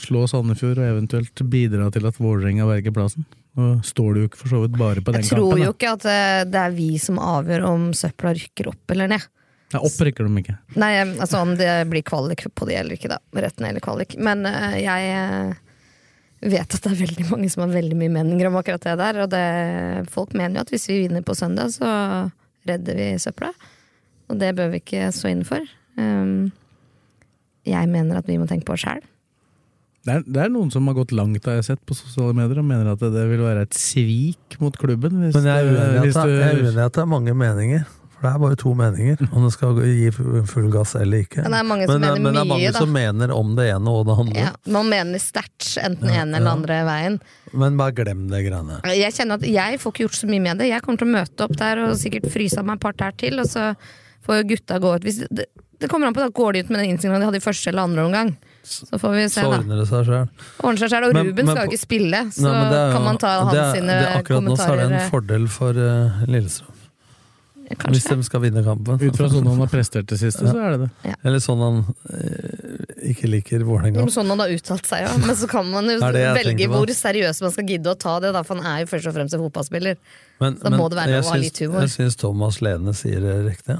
slå Sandefjord og eventuelt bidra til at Vålerenga verger plassen? Nå står du jo ikke for så vidt bare på den Jeg tror kampen. jo da. ikke at eh, det er vi som avgjør om søpla rykker opp eller ned. Nei, opp rykker de ikke. Nei, eh, altså om det blir kvalik på det eller ikke, da. Rett ned eller kvalik. Men eh, jeg eh, vet at det er veldig mange som har veldig mye meninger om akkurat det der. Og det, folk mener jo at hvis vi vinner på søndag, så redder vi søpla. Og det bør vi ikke stå inne for. Um, jeg mener at vi må tenke på oss sjæl. Det er, det er noen som har gått langt har jeg sett på sosiale medier og mener at det, det vil være et svik mot klubben. Hvis, Men jeg er uenig i hvis at det- jeg er du- uenig i at det er mange meninger. For det er bare to <laughs> meninger, om det skal gi full gass eller ikke. Men det er mange som mener men det er mye, mange da. som mener om det ene og det Mm. andre. Ja, man mener sterkt enten den ene eller andre veien. Men bare glem det greiene. Jeg kjenner at jeg får ikke gjort så mye med det. Jeg kommer til å møte opp der og sikkert fryse av meg et par tær til, og så får jo gutta gå ut. Hvis det, det kommer an på, da går de ut med den innstillingen de hadde i første eller andre omgang. Så får vi se, Så da. ordner det seg sjøl. Ordner seg selv, Og Men- Ruben men skal på- jo ikke spille, så kan man ta hans det er, sine det er Akkurat nå så er kommentarer. eh, det en fordel for eh, Lillestrøm. Hvis Kanskje. de skal vinne kampen. Ut fra sånn han har prestert det siste, så er det det. Eller sånn han eh, ikke liker Vålerenga. Men Sånn han har uttalt seg, ja. Men så kan man jo Det <laughs> er det jeg velge tenker på. hvor seriøst man skal gidde å ta det, da, for han er jo først og fremst en fotballspiller. Men, Da må det være jeg lov å ha syns- litt humor. Jeg syns Thomas Lene sier det riktig.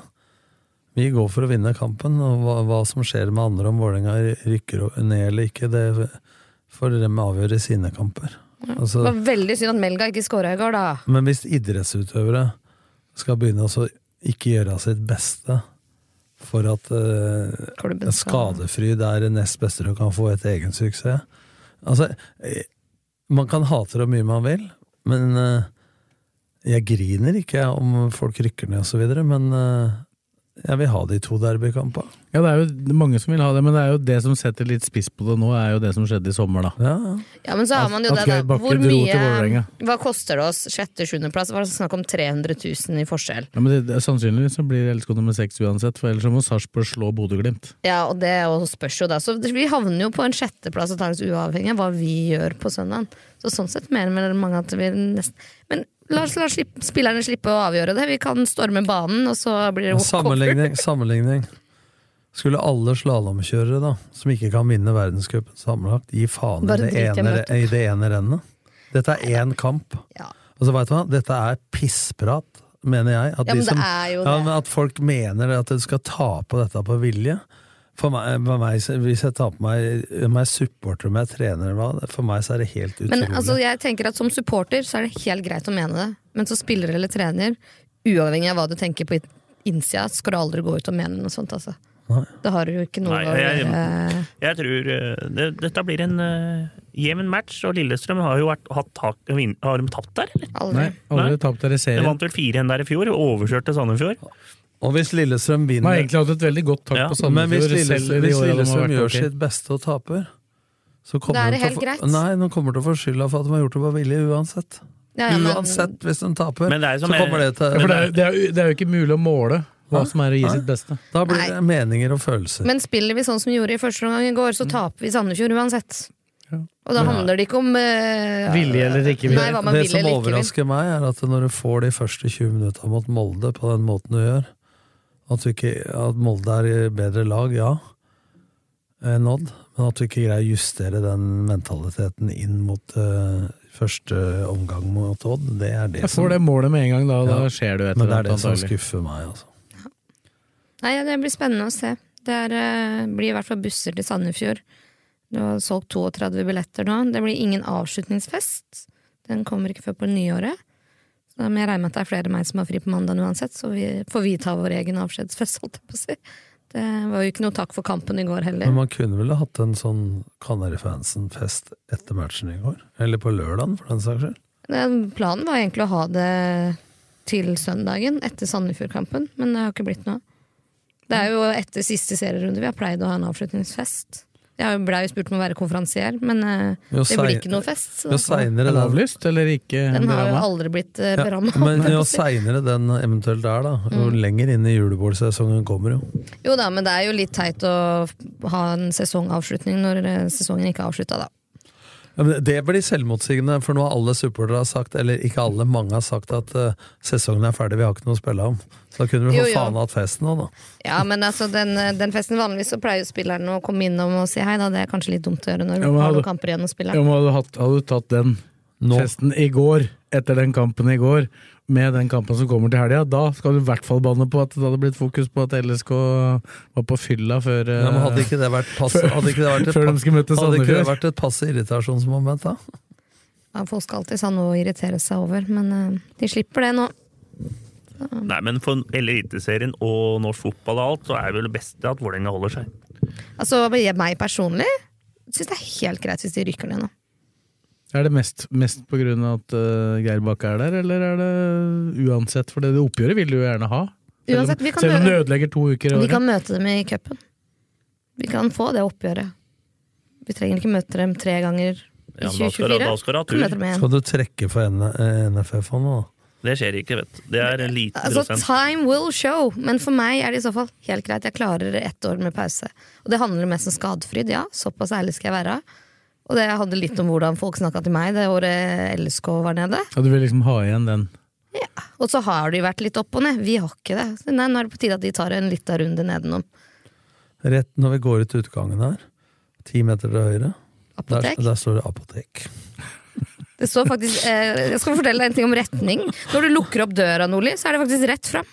Vi går for å vinne kampen, og hva, hva som skjer med andre om Vålerenga rykker opp- ned eller ikke, det får dem avgjøre i sine kamper. Det Altså, var veldig synd at Melga ikke skåra i går, da. men hvis idrettsutøvere skal begynne å så ikke gjøre sitt beste for at eh, Klubben skal- Skadefryd er det nest beste du kan få etter egen suksess. Altså, eh, man kan hate det hvor mye man vil, men eh, jeg griner ikke jeg, om folk rykker ned osv., men eh, jeg vil ha de to derbykampene. Ja, det er jo mange som vil ha det, men det er jo det som setter litt spiss på det nå, er jo det som skjedde i sommer, da. Ja. Ja, men så har At- man jo at det, da. Geir Bakke Hvor dro til Vålerenga. mye Hva koster det oss? Sjette-sjuendeplass? Var det snakk om 300 000 i forskjell? Ja, men det, det, sannsynligvis så blir LSK nummer seks uansett, for ellers så må Sarpsborg slå Bodø-Glimt. Ja, og det er jo- spørs jo da. Så vi havner jo på en sjetteplass antakeligvis uavhengig av hva vi gjør på søndag. Så sånn sett mener vel mange at vi nesten Men la, oss- la slipp, spillerne slippe å avgjøre det. Vi kan storme banen, og så blir det walkover. Sammenligning, sammenligning. Skulle alle slalåmkjørere da, som ikke kan vinne verdenscupen sammenlagt, gi faen i Bare det, drit i ene, møtet. i det ene rennet? Dette er én kamp. Ja. Og så vet du hva, dette er pissprat, mener jeg. At Ja, men de som, det er jo ja, det. men At folk mener at du skal ta på dette på vilje. For meg, for meg, så- hvis jeg tar på meg, om jeg er supporter om jeg er trener, eller hva, for meg så er det helt utrolig. Men altså, jeg tenker at som supporter så er det helt greit å mene det. Men som spiller eller trener, uavhengig av hå du tenker på innsida, skal du aldri gå ut og mene noe sånt, altså. Nei. Da har du jo ikke noe Nei, å jeg- gjøre. Jeg tror eh, det, dette blir en eh, jevn match, og Lillestrøm har jo vært, hatt tak vin- Har de tapt der, eller? Aldri. Nei, aldri Nei. tapt der i De serien. vant vel 4-1 der i fjor, og overkjørte Sandefjord. Og hvis De Lillestrøm har vinner egentlig hatt et veldig godt tak Ja, på Men hvis Sandefjord, selv Lillestrøm, i de hvis årene de har Lillestrøm vært gjør ok. sitt beste og taper, så kommer Da de er det til å helt få- greit. Nei, de kommer til å få skylda for at de har gjort det på vilje uansett. Ja, ja, men- uansett, hvis de taper, Men det er jo så som- kommer det til Ja, for det er jo- det er jo- det er jo ikke mulig å måle hva Nei. som er å gi Nei. sitt beste. Da blir det meninger og følelser. Men spiller vi sånn som vi gjorde i første omgang i går, så taper vi Sandefjord uansett. Og Ja. da handler det ikke om eh, Vilje eller ikke vilje. Nei, hva man det vil som eller ikke vil. overrasker meg, er at når du får de første 20 minuttene mot Molde på den måten du gjør At, du ikke, at Molde er i bedre lag, ja, enn Odd, men at du ikke greier å justere den mentaliteten inn mot eh, første omgang mot Odd, det er det Jeg får det målet med en gang, da, og da skjer det jo et Men eller annet. det er det som antagelig. skuffer meg, altså. Nei, ja, det blir spennende å se. Det er, eh, blir i hvert fall busser til Sandefjord. Du har solgt 32 billetter nå. Det blir ingen avslutningsfest. Den kommer ikke før på nyåret. Så da må jeg regne med at det er flere enn meg som har fri på mandag uansett, så vi, får vi ta vår egen avskjedsfest, holdt jeg på å si. Det var jo ikke noe takk for kampen i Men går heller. man kunne vel ha hatt en sånn Kanarifansen-fest etter matchen i går? Eller på lørdagen, for den saks skyld? Den Planen var egentlig å ha det til søndagen, etter Sandefjord-kampen, men det har ikke blitt noe. Det er jo etter siste serierunde vi har pleid å ha en avslutningsfest. Jeg blei jo spurt om å være konferansier, men eh, Jo det blir sein- ikke noe fest. så- Jo seinere Er det den avlyst eller ikke? Den har jo berammet? aldri blitt eh, Ja, berammet. <laughs> Men holdt jeg på jo å si. seinere den eventuelt er, da, jo lenger inn i julebordsesongen kommer jo. Jo da, men det er jo litt teit å ha en sesongavslutning når eh, sesongen ikke er avslutta, da. Ja, men det blir selvmotsigende, for nå har alle supportere har sagt, eller ikke alle, mange har sagt at eh, sesongen er ferdig, vi har ikke noe å spille om. Så da kunne du Jo, for jo. faen hatt festen nå, da. Ja, men altså, den, eh, den festen vanligvis så pleier jo spillerne å komme innom og si hei, da. Det er kanskje litt dumt å gjøre når Ja, du men har hadde- noen kamper igjen å spille. Ja, men hadde, du hatt, hadde du tatt den festen i går, etter den kampen i går, med den kampen som kommer til helga, da skal du i hvert fall banne på at det hadde blitt fokus på at LSK var på fylla før eh, Ja, men hadde ikke det vært, pass, Før- hadde ikke det vært et, før de pa- skulle møte hadde ikke det Sandefjord. vært et passe irritasjonsmoment, da? Ja, folk skal alltid ha noe å irritere seg over, men eh, de slipper det nå. Nei, men for Eliteserien og norsk fotball og alt, så er vel det beste at Vålerenga holder seg. Altså, jeg- meg personlig syns det er helt greit hvis de rykker ned nå. Er det mest, mest på grunn av at eh, Geir Bakke er der, eller er det uansett? For det, det oppgjøret vil du jo gjerne ha. Selv om- Uansett, vi kan selv om det gjøre- ødelegger to uker i Vi kan året. møte dem i cupen. Vi kan få det oppgjøret. Vi trenger ikke møte dem tre ganger i Ja, men da skal 2024. det- da skal det ha tur. Vi møter dem igjen. Skal du trekke for N- eh, NFF nå, da? Det skjer ikke, vet du. Det er en liten Altså, prosent. time will show, men for meg er det i så fall helt greit. Jeg klarer ett år med pause. Og det handler mest om skadefryd, ja. Såpass ærlig skal jeg være. Og det handler litt om hvordan folk snakka til meg det året LSK var nede. Ja, du vil liksom ha igjen den. Og så har det jo vært litt opp og ned. Vi har ikke det. Så nei, nå er det på tide at de tar en lita runde nedenom. Rett når vi går ut utgangen her, ti meter til høyre, der, Apotek? der står det apotek. Det står faktisk, eh, Jeg skal fortelle deg en ting om retning. Når du lukker opp døra, Nordli, så er det faktisk rett fram.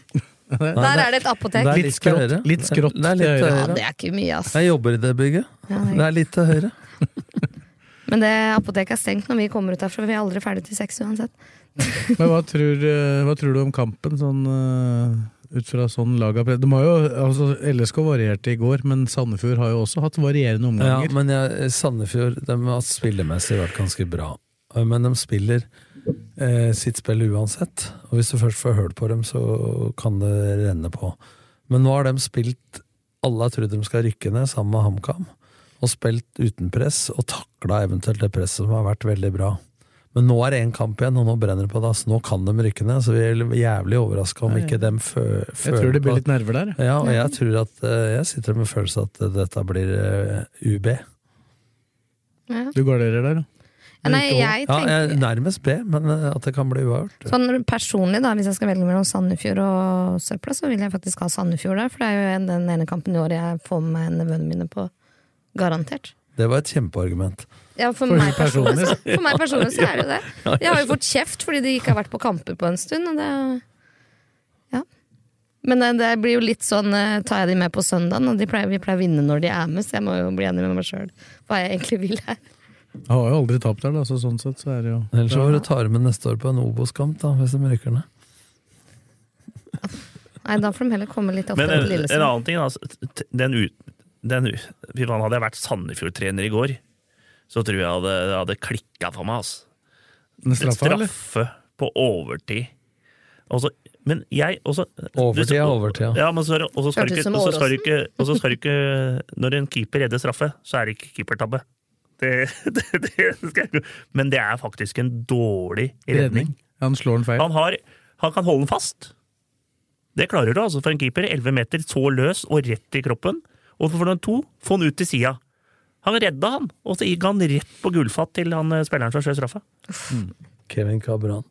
Der er det et apotek. Det er Litt skrått. høyere. Litt skrått Det er litt til høyre. høyere. Ja, det er ikke mye, ass. Jeg jobber i det bygget. Ja, det er det er litt til høyre. Men det apoteket er stengt når vi kommer ut derfra. Vi er aldri ferdig til seks uansett. Men hva tror, eh, hva tror du om kampen, sånn, eh, ut fra sånn lag av pre- De har jo, altså, LSK varierte i går, men Sandefjord har jo også hatt varierende Ja, omganger. men jeg, Sandefjord de har spillemessig vært ganske bra. Men de spiller eh, sitt spill uansett. Og hvis du først får høl på dem, så kan det renne på. Men nå har de spilt Alle har trodd de skal rykke ned, sammen med HamKam. Og spilt uten press, og takla eventuelt det presset som har vært veldig bra. Men nå er det én kamp igjen, og nå brenner det på dass. Nå kan de rykke ned, så vi er jævlig overraska om Ja, ja. ikke dem fø Jeg føler tror det på- blir litt nerver der. jeg. ja, og jeg tror at eh, jeg sitter med følelsen at eh, dette blir eh, UB. Ja. Du garderer der, da. Ja, Nei, jeg Ja, tenker jeg- nærmest B, men eh, at det kan bli uavgjort. Sånn personlig, da, hvis jeg skal velge mellom Sandefjord og Søpla, så vil jeg faktisk ha Sandefjord der. For det er jo en- den ene kampen i året jeg får med meg nevøene mine på. Garantert. Det var et kjempeargument. Ja, for, For meg personlig, personlig, så, så- for meg personlig så er det jo det. Jeg har jo fått kjeft fordi de ikke har vært på kamper på en stund. Og det, ja. Men det, det blir jo litt sånn eh, Tar jeg de med på søndagen, og de pleier, vi pleier å vinne når de er med, så jeg må jo bli enig med meg sjøl hva jeg egentlig vil her. Jeg har jo aldri tapt der, da, så sånn sett så er det jo Ellers så får du ta det med neste år på en Obos-kamp, da, hvis de rykker ned. Nei, da får de heller komme litt Men oftere en, til en Lillesand. annen ting, altså, t- den, ut- den, ut- Fy faen, hadde jeg vært Sandefjord-trener i går, så tror jeg jeg hadde, det hadde klikka for meg. Altså. Den straffa, eller? Straffe på overtid. Og så- men jeg også Overtid er overtid, ja. ja. men så er det- Og så skal Hørtes du ut som ikke- og så skal du ikke og så skal du ikke- Når en keeper redder straffe, så er det ikke keepertabbe. Det, <laughs> det, det skal jeg, men det er faktisk en dårlig redning. Redning. Han slår den feil. Han, har, han kan holde den fast. Det klarer du altså for en keeper. 11 meter, så løs og rett i kroppen. Og for den to, få den ut til sida. Han redda han, og så gikk han rett på gullfat til han eh, spilleren som skjøt straffa. Kevin Cabran.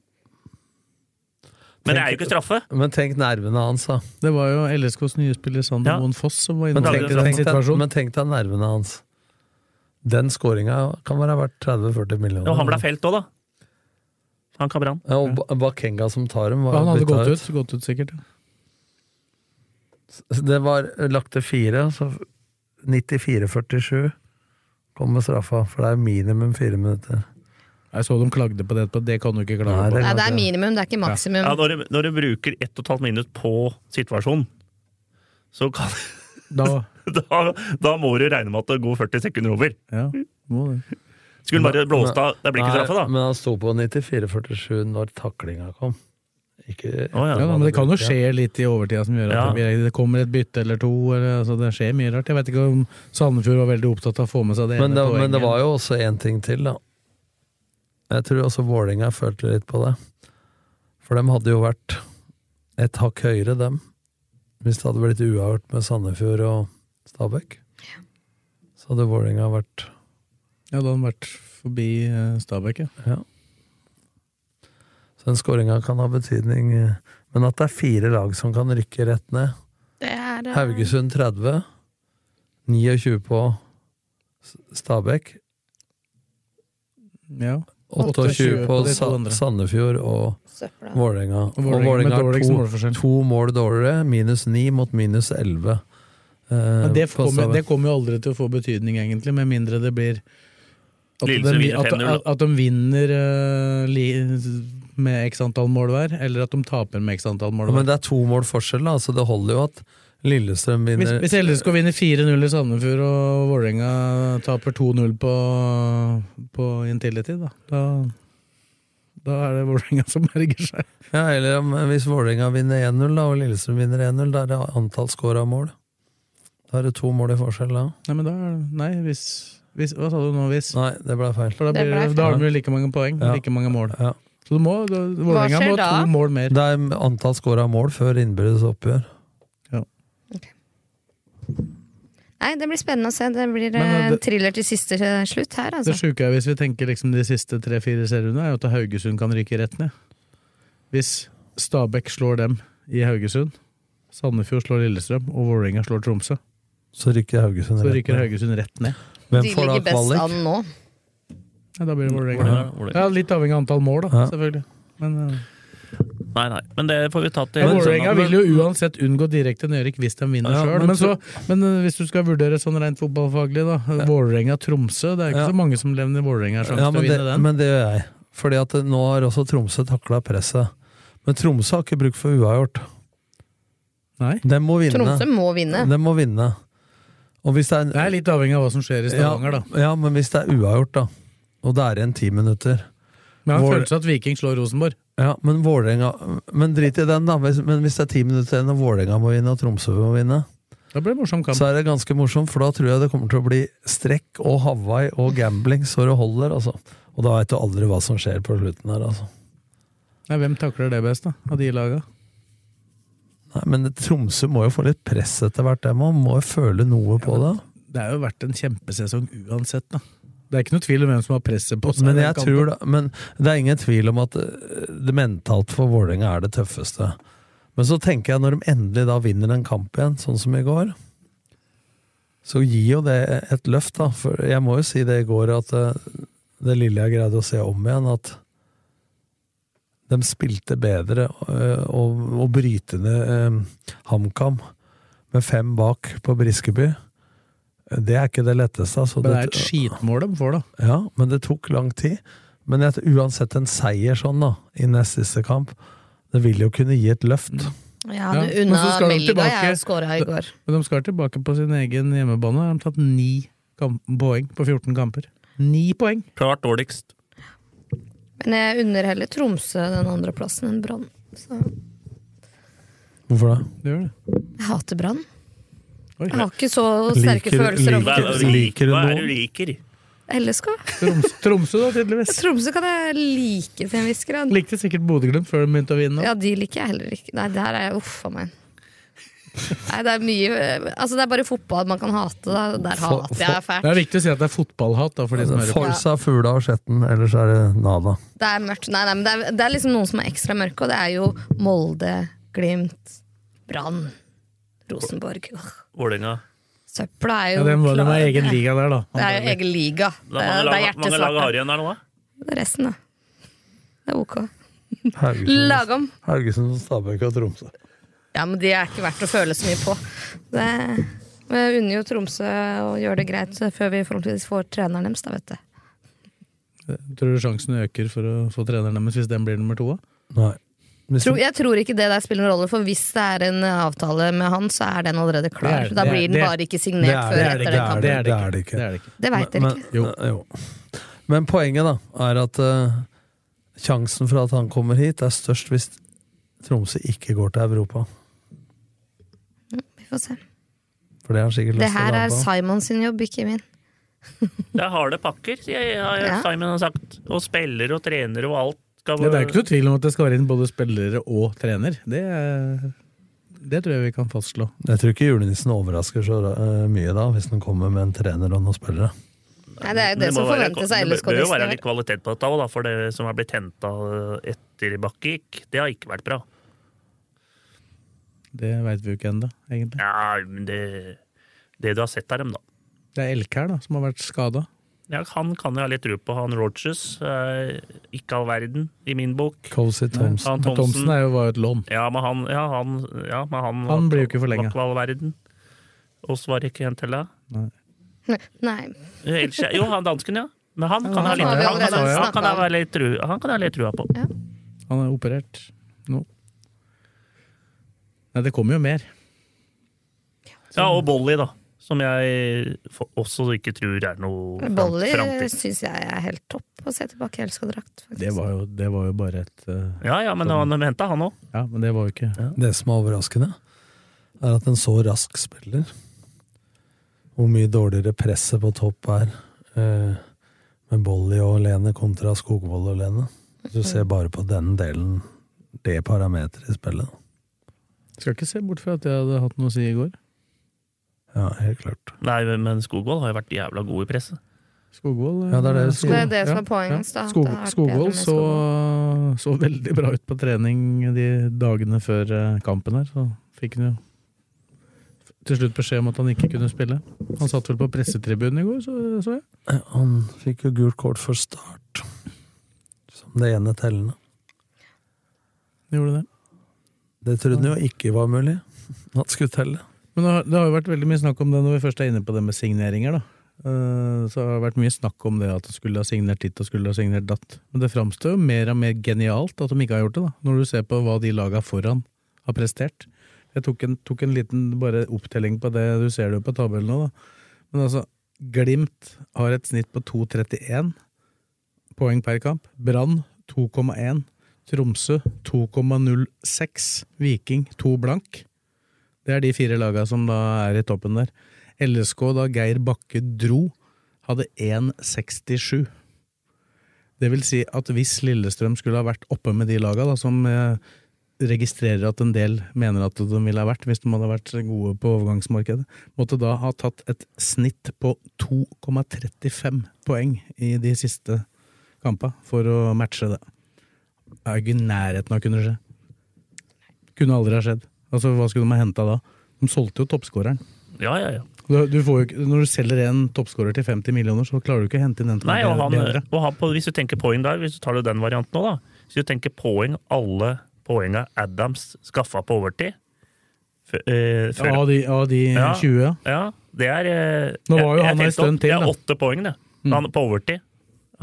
Men det er jo ikke straffe. Men tenk nervene hans, da. Det var jo LSKs nye spiller Sander Ja. Moen Foss som var Men inne tenk, i den tenk, deg, situasjonen. men tenk deg nervene hans. Den skåringa kan være verdt 30-40 millioner. Og han ble felt òg, da. Han Kabran. Ja, og Ba- Bakenga som tar dem, var Han hadde bytta gått ut. ut, gått ut sikkert. ja. Så Det var lagt til fire, så 94-47 kommer straffa. For det er minimum fire minutter. Jeg så de klagde på det etterpå, det kan du ikke Nei, klage det på. er Nei, det klart, er ja. minimum, det er ikke maksimum. Ja, når, du, når du bruker ett og et halvt minutt på situasjonen, så kan <laughs> Da, da, da må du regne med at det går 40 sekunder over. ja, må det. Skulle han bare blåst av Det blir ikke Nei, straffe, da. Men han sto på 94-47 når taklinga kom. Ikke Å, Ja, ja. da, men det kan jo skje litt i overtida som gjør at det det kommer et bytte eller to. Eller, altså, det skjer mye rart. Jeg vet ikke om Sandefjord var veldig opptatt av å få med seg det Men ene det, men det poenget. var jo også én ting til, da. Jeg tror også Vålerenga følte litt på det. For dem hadde jo vært et hakk høyere, dem, hvis det hadde blitt uavgjort med Sandefjord og Stabæk. Så hadde Vålerenga vært Ja, da hadde han vært forbi eh, Stabæk, ja. Ja. Så den skåringa kan ha betydning. eh, Men at det er fire lag som kan rykke rett ned. Det er, eh, Haugesund 30, 29 på S- Stabæk, ja. 28 på de to Sa andre. Sandefjord og søpla. Vålerenga. Og Vålerenga med Vålerenga har dårligst to, målforskjell. to mål dårligere, minus ni mot minus elleve. eh, Men det på kommer, Stabæk. det kommer jo aldri til å få betydning, egentlig, med mindre det blir at, de, Lillestrøm vinner at, 5-0 da. at, at de vinner eh, li, med x antall mål hver, eller at de taper med x antall mål Ja, hver. Men det er to mål forskjell, da, så det holder jo at Lillestrøm Hvis, vinner hvis LSK vinner 4-0 i Sandefjord og Vålerenga taper 2-0 på, på Intility, da, da, da er det Vålerenga som berger seg. Ja, eller om, eh, hvis Vålerenga vinner 1-0 da, og Lillestrøm vinner 1-0, da er det antall skåra mål. Da er det to mål i forskjell da. Nei, men da er det Nei, hvis, hvis Hva sa du nå, hvis? Nei, det ble feil. For da, Det blir, ble feil. det- da har de jo like mange poeng, Ja. like mange mål. Ja. Så du må, da- Vålerenga skjer må ha da? to mål mer. Det er antall skåra mål før innbyrdes oppgjør. Nei, det blir spennende å se. Det blir Men, eh, eh, det- thriller til siste eh, slutt her, altså. Det sjuke er hvis vi tenker liksom de siste tre-fire serierundene, er jo at Haugesund kan ryke rett ned. Hvis Stabæk slår dem i Haugesund, Sandefjord slår Lillestrøm og Vålerenga slår Tromsø, Så rykker Haugesund så rett rykker ned. Haugesund rett ned. Hvem De får da ligger best kvalik? an nå. Ja, da blir det Vålerenga. Vålerenga, Vålerenga. Ja, litt avhengig av antall mål, da, Ja. selvfølgelig. Men eh, Nei, nei. Men det får vi ta til ja, Vålerenga søndag. vil jo uansett unngå direkte nedrykk hvis de vinner sånn Ja, selv men Men, så, men eh, hvis du skal vurdere sånn rent fotballfaglig, da. Vålerenga-Tromsø. Det er ikke Ja. så mange som levner Vålerenga en sjanse Ja, til å men det, vinne den. men det gjør jeg. Fordi at nå har også Tromsø takla presset. Men Tromsø har ikke bruk for uavgjort. Nei. De må vinne. Tromsø må vinne. De må vinne. Og hvis det er, Det er litt avhengig av hva som skjer i Stavanger, da. ja, ja, men hvis det er uavgjort, da, og det er igjen ti minutter Men jeg har Vål- en følelse av at Viking slår Rosenborg. Ja, men Vålerenga Men drit i den, da. Hvis, men hvis det er ti minutter igjen og Vålerenga må vinne og Tromsø må vinne, Da blir det morsom kamp. så er det ganske morsomt, for da tror jeg det kommer til å bli strekk og Hawaii og gambling så det holder, altså. Og da veit du aldri hva som skjer på slutten her, altså. Nei, hvem takler det best, da? Av de laga? Nei, men Tromsø må jo få litt press etter hvert, dem òg. Må jo føle noe på det. Det har jo vært en kjempesesong uansett, da. Det er ikke noe tvil om hvem som har presset på seg. i Men den jeg kampen. tror da, men det er ingen tvil om at øh, det mentalt for Vålerenga er det tøffeste. Men så tenker jeg når de endelig da vinner en kamp igjen, sånn som i går, så gir jo det et løft, da. For jeg må jo si det i går, at øh, det lille jeg greide å se om igjen, at de spilte bedre øh, og, og bryte ned øh, HamKam med fem bak på Briskeby. Det er ikke det letteste. Altså. Men det er et skitmål de får, da. Ja, men det tok lang tid. Men jeg, uansett en seier sånn da, i nest siste kamp, det vil jo kunne gi et løft. Ja, Ja, du men unna så skal de Melga. tilbake. Jeg skåra i går. Men de skal tilbake på sin egen hjemmebane. De har tatt ni kam- poeng på 14 kamper. Ni poeng! Klart dårligst. Men jeg unner heller Tromsø den andre plassen enn Brann. Så Hvorfor det? Det gjør det. jeg hater Brann. Oi. Jeg har ikke så sterke Liker- følelser liker- overfor Liker du hva er noen? det du liker? LSK. Troms, Tromsø, da, tydeligvis. <laughs> Tromsø kan jeg like til en viss grad. Likte sikkert Bodø-Glimt før de begynte å vinne. Ja, de liker jeg heller ikke. Nei, der er jeg uff a meg. Nei, det er mye Altså, det er bare fotball man kan hate. Da. Der hater jeg Det er fælt. viktig å si at det er fotballhat. Da, for de som hører på. Forsa, Fula og Skjetten, ellers er det nada. Det er mørkt. Nei, nei, men det er, det er liksom noen som er ekstra mørke, og det er jo Molde, Glimt, Brann, Rosenborg. Ugh. Vålerenga. Søpla er jo Ja, den var det klar. med egen liga der, da. Det er jo egen liga. Det Mange er, det er lag- mange lag har hjertesvart. igjen der nå, da? Det er Resten, da. Det er ok. Haugesund, Lag om. Haugesund Stabæk og Tromsø. Ja, men de er ikke verdt å føle så mye på. Det jeg unner jo Tromsø å gjøre det greit før vi forhåpentligvis får treneren deres, da, vet du. Tror du sjansen øker for å få treneren deres hvis den blir nummer to? Nei. Tro, jeg tror ikke det der spiller noen rolle, for hvis det er en avtale med han, så er den allerede klar. Det er- så da det er- blir den det er- bare ikke signert før etter den kampen. det er det ikke. ikke. Det er det ikke. Det veit dere Men, eh, ikke. jo. jo. men poenget da er at eh, sjansen for at han kommer hit, er størst hvis Tromsø ikke går til Europa. Vi får se. For det har han sikkert Det lyst til å her være er på. Simon sin jobb, ikke min. Det er harde pakker, sier jeg, har Ja. Simon har sagt. Og spillere og trenere og alt. Skal Det er jo ikke noe tvil om at det skal være inn både spillere og trener. Det, er- det tror jeg vi kan fastslå. Jeg tror ikke julenissen overrasker så eh, mye da, hvis han kommer med en trener og noen spillere. Nei, det er jo Men det som må være- forventes av Det bør jo LSK-nissen. være i litt år. kvalitet på dette òg, da, for det som har blitt henta etter Bakkevik, det har ikke vært bra. Det veit vi jo ikke ennå, egentlig. Ja, men det, det du har sett av dem, da. Det er Elkær da, som har vært skada. Ja, han kan jeg ha litt tro på, han Rogers. Eh, ikke all verden, i min bok. Cozy Thompson. Thompson, Han Thompson Thomsen. er jo var jo et lån. Ja, men han, ja, han, ja, men han, Han blir jo ikke forlenget. var ikke all verden. Oss var ikke en til det. Nei. Eh, ellers- Jo, han dansken, ja. Men han kan han ha litt, har vi han kan, allerede ha- han snakket kan, ha om. litt tru- han kan ha litt trua på. Han er operert nå. Nei, det kommer jo mer. Ja, og Bolly, da. Som jeg for- også ikke tror er noe fram- Bolly framtid. syns jeg er helt topp å se tilbake i LSK-drakt, Det faktisk. var jo, det var jo bare et eh, Ja, ja, men han henta han òg. Ja, men det var jo ikke Det som er overraskende, er at en så rask spiller Hvor mye dårligere presset på topp er eh, med Bolly og Lene kontra Skogvold og Lene. Du ser bare på den delen, det parameteret i spillet. Skal ikke se bort fra at jeg hadde hatt noe å si i går. Ja, helt klart. Nei, men Skogvold har jo vært jævla god i presset. Skogvold eh, Ja, det er det. Skog- Det er det som ja, er poenget. da, ja. at Skog, det har vært bedre Skogvold med så, så veldig bra ut på trening de dagene før eh, kampen her, så fikk han jo til slutt beskjed om at han ikke kunne spille. Han satt vel på pressetribunen i går, så, så jeg. Eh, Han fikk jo gult kort for start, som det ene tellende. Gjorde det. Det trodde han jo ikke var mulig, <laughs> at skulle telle. Men det har, det har jo vært veldig mye snakk om det når vi først er inne på det med signeringer, da. Eh, Så har det vært mye snakk om det at de skulle ha signert ditt og skulle ha signert datt. Men det framstår jo mer og mer genialt at de ikke har gjort det, da. Når du ser på hva de laga foran har prestert. Jeg tok en, tok en liten bare opptelling på det, du ser det jo på tabellen nå, da. Men altså, Glimt har et snitt på 2,31 poeng per kamp. Brann 2,1. Tromsø 2,06. Viking 2 blank. Det er de fire laga som da er i toppen der. LSK, da Geir Bakke dro, hadde 1,67. Det vil si at hvis Lillestrøm skulle ha vært oppe med de laga, da, som eh, registrerer at en del mener at de ville ha vært, hvis de hadde vært gode på overgangsmarkedet, måtte da ha tatt et snitt på 2,35 poeng i de siste kampa for å matche det. Det er jo ikke i nærheten av å kunne skje. Kunne aldri ha skjedd. Altså, Hva skulle de ha henta da? De solgte jo toppskåreren. Ja, ja, ja. Du, du får jo, ikke- når du selger en toppskårer til 50 millioner, så klarer du ikke å hente inn en som Nei, er og han, eh, bedre. og han på, Hvis du tenker poeng der, hvis du tar den varianten nå, da. Hvis du tenker poeng, alle poenga Adams skaffa på overtid før, eh, før Av de, av de Ja. 20, ja. Ja, det er eh, Nå var jo han her en tenkte stund opp- Det til, da. Mm. er åtte poeng, det. Han, på overtid.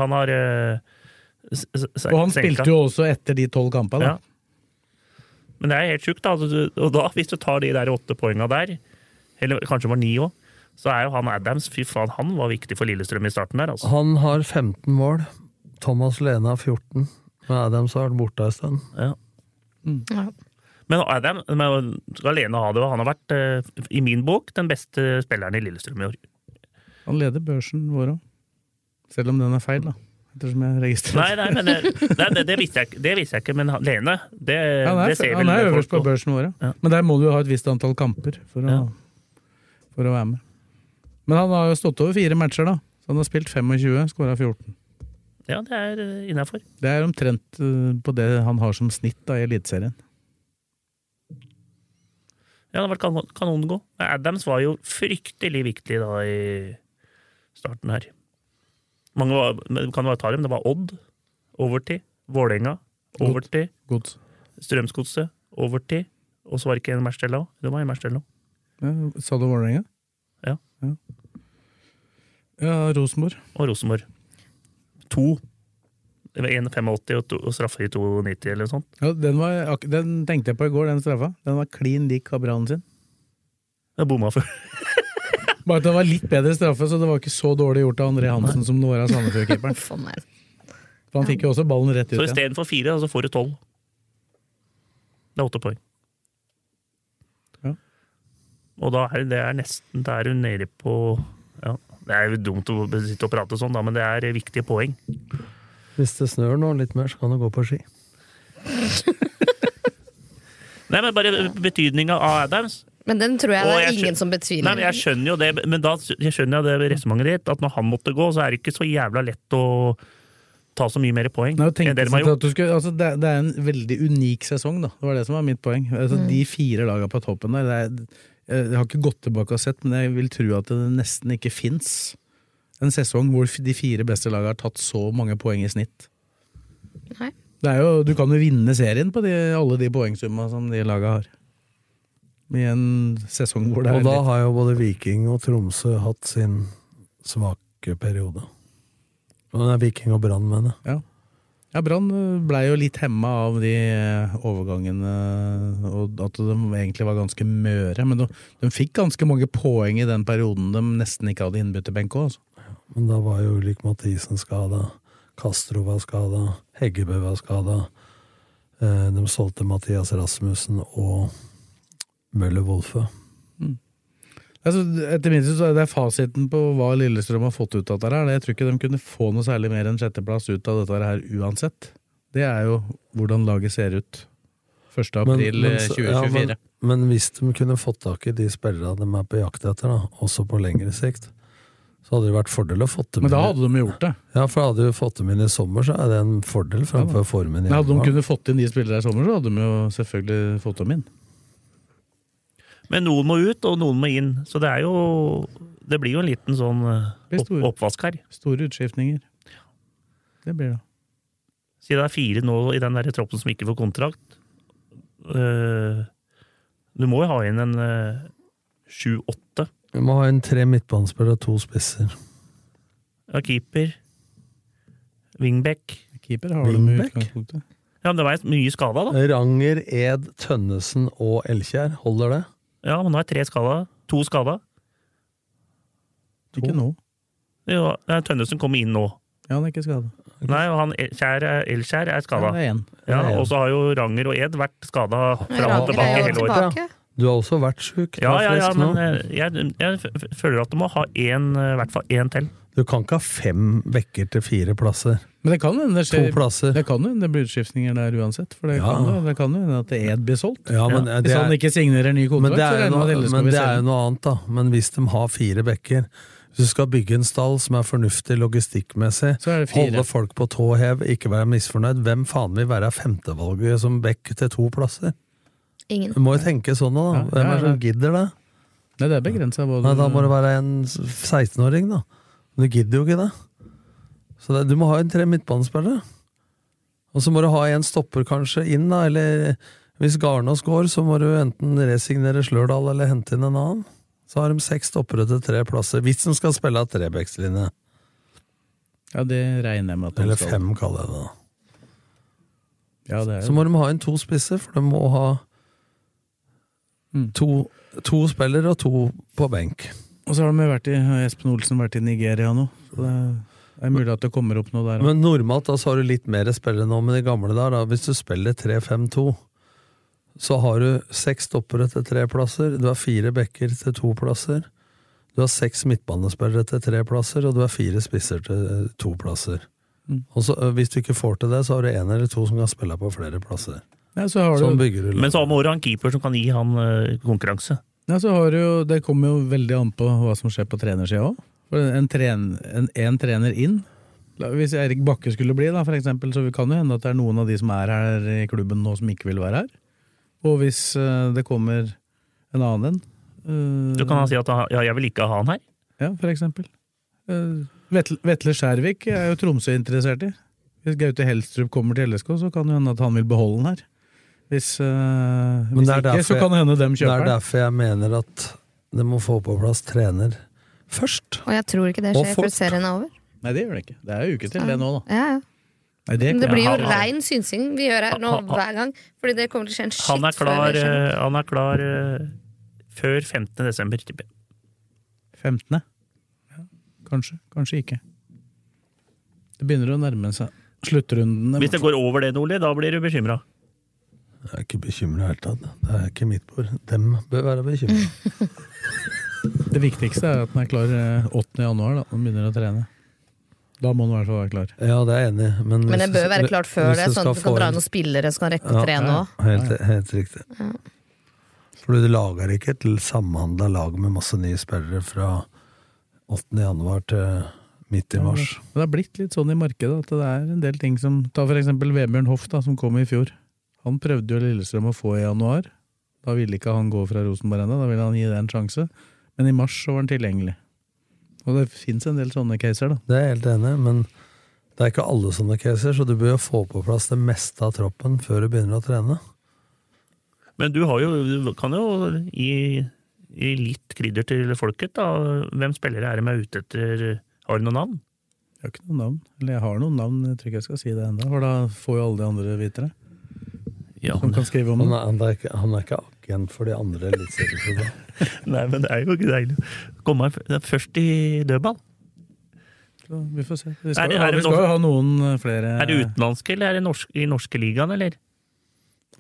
Han har eh, s- s- Og han senka. spilte jo også etter de tolv kampene. Ja. Men det er helt sjukt, da. Altså, Du- Og da, hvis du tar de der åtte poenga der, eller kanskje det var ni òg, så er jo han Adams Fy faen, han var viktig for Lillestrøm i starten der, altså. Han har 15 mål, Thomas Lene har 14, men Adams har vært borte en stund. Ja. Ja. Men Adam men skal alene ha det, og han har vært, eh, i min bok, den beste spilleren i Lillestrøm i år. Han leder børsen vår òg. Selv om den er feil, da. Ettersom jeg Nei, registrerer nei, men det, nei, det, det, visste jeg, ikke- det visste jeg ikke, men han- Lene, det, Han er, det ser han vel er øverst på folk børsen vår, ja. Men der må du jo ha et visst antall kamper for å, Ja. for å være med. Men han har jo stått over fire matcher, da. Så han har spilt 25, skåra 14. Ja, det er eh, innafor. Det er omtrent eh, på det han har som snitt da, i Eliteserien. Ja, det har vært kanon, kanongod. Men Adams var jo fryktelig viktig da i starten her. Mange var, men kan bare ta dem. Det var Odd, overtid. Vålerenga, overtid. Gods. Strømsgodset, overtid. Og så var det ikke en match til da. Det var en match til nå. Ja, sa du Vålerenga? Ja. ja. Ja, Rosenborg. Og Rosenborg. To. Det var 1,85 og, to- og straffer i 2,90 eller noe sånt. Ja, den, var, ak- den tenkte jeg på i går, den straffa. Den var klin lik Kabran sin. Jeg bomma før. Bare at det var litt bedre straffe, så det var ikke så dårlig gjort av André Hansen som det var av <laughs> Sandefjord-keeperen. For han fikk jo også ballen rett ut. Så ja. istedenfor fire, så får du tolv. Det er åtte poeng. Ja. Og da er det er nesten Da er hun nede på ja, Det er jo dumt å sitte og prate sånn, da, men det er viktige poeng. Hvis det snør nå litt mer, så kan du gå på ski. Nei, men Bare betydninga av Adams. Men den tror jeg Og det jeg er ingen skjøn- som Nei, betviler. men Jeg skjønner jo det, men da jeg skjønner jeg det resonnementet ditt. At når han måtte gå, så er det ikke så jævla lett å ta så mye mer poeng. Nei, jeg enn tenkte det de har sånn gjort. at du skulle, altså det, det er en veldig unik sesong, da. Det var det som var mitt poeng. Altså, Mm. De fire lagene på toppen der, det er, jeg har ikke gått tilbake og sett, men jeg vil tro at det nesten ikke fins en sesong hvor de fire beste lagene har tatt så mange poeng i snitt. Nei. Det er jo, du kan jo vinne serien på de, alle de poengsumma som de lagene har. I en sesong hvor det er Og da litt- har jo både Viking og Tromsø hatt sin svake periode. Men det er Viking og Brann, mener jeg. Ja, Brann blei jo litt hemma av de eh, overgangene, og at de egentlig var ganske møre. Men de, de fikk ganske mange poeng i den perioden de nesten ikke hadde innbytterbenk altså. òg. Men da var jo Ulrik Mathisen skada, Castro var skada, Heggebø var skada. Eh, De solgte Mathias Rasmussen og Møller Wolfe. Altså, etter min syn så er det fasiten på hva Lillestrøm har fått ut av dette. her. Jeg tror ikke de kunne få noe særlig mer enn sjetteplass ut av dette her uansett. Det er jo hvordan laget ser ut 1. april eh, så- 2024. ja, men, men hvis de kunne fått tak i de spillerne de er på jakt etter, da, også på lengre sikt, så hadde det vært fordel å fått dem Men da inn i- hadde de gjort det. Ja, for hadde du fått dem inn i sommer, så er det en fordel framfor formen i Men hadde de januar. kunne fått inn de spillere i sommer, så hadde de jo selvfølgelig fått dem inn. Men noen må ut, og noen må inn. Så det er jo Det blir jo en liten sånn eh, opp, oppvask her. Store utskiftninger. Det blir det. Siden det er fire nå i den der troppen som ikke får kontrakt eh, Du må jo ha inn en eh, sju-åtte. Vi må ha inn tre midtbanespillere og to spisser. keeper. Wingback. Keeper har de i Wingback? utgangspunktet. Ja, men det var mye skada, da. Ranger, Ed, Tønnesen og Elkjær, holder det? Ja, men nå er tre skada. To skada. Ikke nå. Ja, nei, Tønnesen kom inn nå. Ja, han er ikke skada. Nei, og han Elkjær er, Elkjær er skada. Ja, det er en. Ja, Det er en. og så har jo Ranger og Ed vært skada fram Ranger og er tilbake jo hele året. Du har også vært sjuk. Ja, Du ja, er ja, frisk men nå. eh, jeg, jeg f- f- føler at du må ha én, eh, i hvert fall én til. Du kan ikke ha fem vekker til fire plasser. Men det kan hende det skjer To plasser. Det kan jo hende det blir utskiftninger der uansett. For det Ja. kan jo- det kan jo hende at Ed blir solgt. Ja, men eh, det Hvis er- han ikke signerer ny Men kontrakt, det er så jo regner noe, man at Lillestrøm men vil det selge er jo den. noe annet, da. Men hvis de har fire bekker Hvis du skal bygge en stall som er fornuftig logistikkmessig, er det fire. holde folk på tå hev, ikke være misfornøyd Hvem faen vil være femtevalget som bekk til to plasser? Ingen. Du må jo tenke sånn nå, da. Ja, ja, Hvem er det ja. som gidder det? Nei, det er begrensa hva Nei, da du må det være en s- 16-åring, da. Men du gidder jo ikke det. Så det, du må ha en tre midtbanespillere. Og så må du ha en stopper kanskje inn, da. Eller hvis Garnås går, så må du enten resignere Slørdal eller hente inn en annen. Så har de seks stoppere til tre plasser, hvis de skal spille av trebekslinje. Ja, det regner jeg med at de Eller skal. fem, kaller jeg det. da. Ja, det er Så må de ha inn to spisser, for de må ha Mm. to, to spillere og to på benk. Og så har de vært i, har Espen Olsen vært i Nigeria nå. Så det er, det er mulig at det kommer opp noe der. også. Men normalt da, så har du litt mer spillere nå, men i gamle dager, da, hvis du spiller 3-5-2, så har du seks stoppere til tre plasser, du har fire bekker til to plasser. Du har seks midtbanespillere til tre plasser, og du har fire spisser til eh, to plasser. Mm. Og så, eh, Hvis du ikke får til det, så har du én eller to som kan spille på flere plasser. Ja, så har du- sånn bygger du lag. Men så må du ha en keeper som kan gi han eh, konkurranse. Ja, så har du jo, det kommer jo veldig an på hva som skjer på trenersida òg. En, tren, en, en trener inn La- Hvis Erik Bakke skulle bli, da, for eksempel, så kan det hende at det er noen av de som er her i klubben nå, som ikke vil være her. Og hvis eh, det kommer en annen en eh, Du kan han si at han, ja, 'jeg vil ikke ha han her'. Ja, for eksempel. Eh, Vetle, Vetle Skjærvik er jo Tromsø interessert i. Hvis Gaute Helstrup kommer til LSK, så kan det hende at han vil beholde den her. Hvis, eh, Men hvis det er ikke, derfor så kan det hende dem jeg- Det kjøper er den. derfor jeg mener at de må få på plass trener først. Og jeg tror ikke det Og skjer fort. før serien er over. Nei, det gjør det ikke. Det er jo uke til det nå, da. Ja, ja. Nei, det, Men det kan- blir jo han- han- rein synsing vi gjør her nå Han- han- hver gang. Fordi det kommer til å skje en shit Han er før klar, det skjer. eh, han er klar eh, før 15. desember, tipper jeg. 15. Kanskje, kanskje ikke. Det begynner å nærme seg sluttrundene. Hvis det går over det, Nordli, da blir du bekymra. Jeg er ikke bekymra i det hele tatt. Det er ikke mitt bord. Dem bør være bekymra. Det viktigste er at den er klar eh, 8. januar, da den begynner å trene. Da må den i hvert fall være klar. Ja, det er jeg enig i. Men, Men det hvis bør du- være klart før hvis det, sånn at du kan få dra inn- inn noen spillere som kan rekke å Ja, trene òg. Helt, helt riktig. Ja. For du lager ikke et samhandla lag med masse nye spillere fra 8. januar til midt i mars. Men det har blitt litt sånn i markedet at det er en del ting som Ta for eksempel Vebjørn Hoff, da, som kom i fjor. Han prøvde jo Lillestrøm å få i januar. Da ville ikke han gå fra Rosenborg ennå, da ville han gi det en sjanse. Men i mars så var han tilgjengelig. Og det fins en del sånne caser, da. Det er jeg helt enig i, men det er ikke alle sånne caser, så du bør jo få på plass det meste av troppen før du begynner å trene. Men du, har jo, du kan jo gi, gi litt krydder til folket, da. Hvem spillere er de er ute etter? Har du noe navn? Jeg har ikke noen navn. Eller jeg har noen navn, jeg tror ikke jeg skal si det ennå. For da får jo alle de andre vite det. Ja, Som kan skrive om Han det. er, han er, ikke, han er ikke agent for de andre eliteserieklubbene. <laughs> Nei, men det er jo ikke deilig. Kommer f- det er først i dødball. Så vi får se. Vi Er skal, det- jo ha- er det vi skal norsk- jo ha noen eh, flere Er det utenlandske, eller er det norsk, i norske ligaen, eller?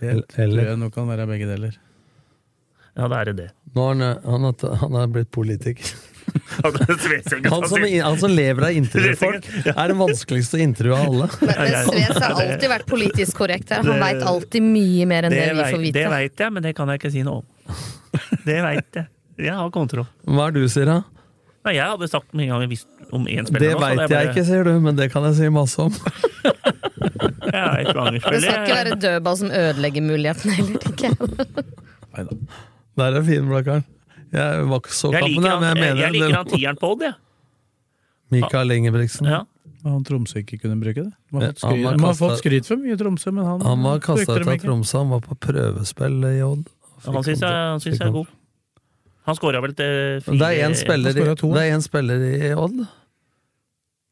Det tror Eller jeg nok kan være begge deler. Ja, da er det det. Nå er han, han, er, han er blitt politiker. Han Han som, han som lever av å intervjue folk, er den vanskeligste å intervjue av alle. Men, men Sves har alltid vært politisk korrekt her. Han Det- veit alltid mye mer enn det, Det vi får vei- det vite. veit jeg, men det kan jeg ikke si noe om. Det veit jeg. Jeg har kontroll. Hva er det du sier, da? Nei, jeg hadde sagt med en gang jeg visste om én spiller. Det veit jeg ikke, sier du, men det kan jeg si masse om. <laughs> Jeg er ikke mange Det skal ikke spillere. være dødball som ødelegger muligheten heller, tenker jeg. Neida. Der er fin, Blakkaren. Jeg var ikke så Jeg kampen, liker jeg, han, men jeg jeg, mener jeg liker det. han tieren på Odd, jeg. Mikael Ingebrigtsen. Ja. Men Han Tromsø ikke kunne bruke det. De har Ja, fått skryt, han var de har fått kastet- skryt for mye i Tromsø, men han, Han var kasta brukte ut dem av ikke. Tromsø, han var på prøvespill i Odd. Han syns jeg, han synes jeg er god. Han skåra vel til Men fire Det er én spiller, i- Han scoret to. det er en spiller i Odd.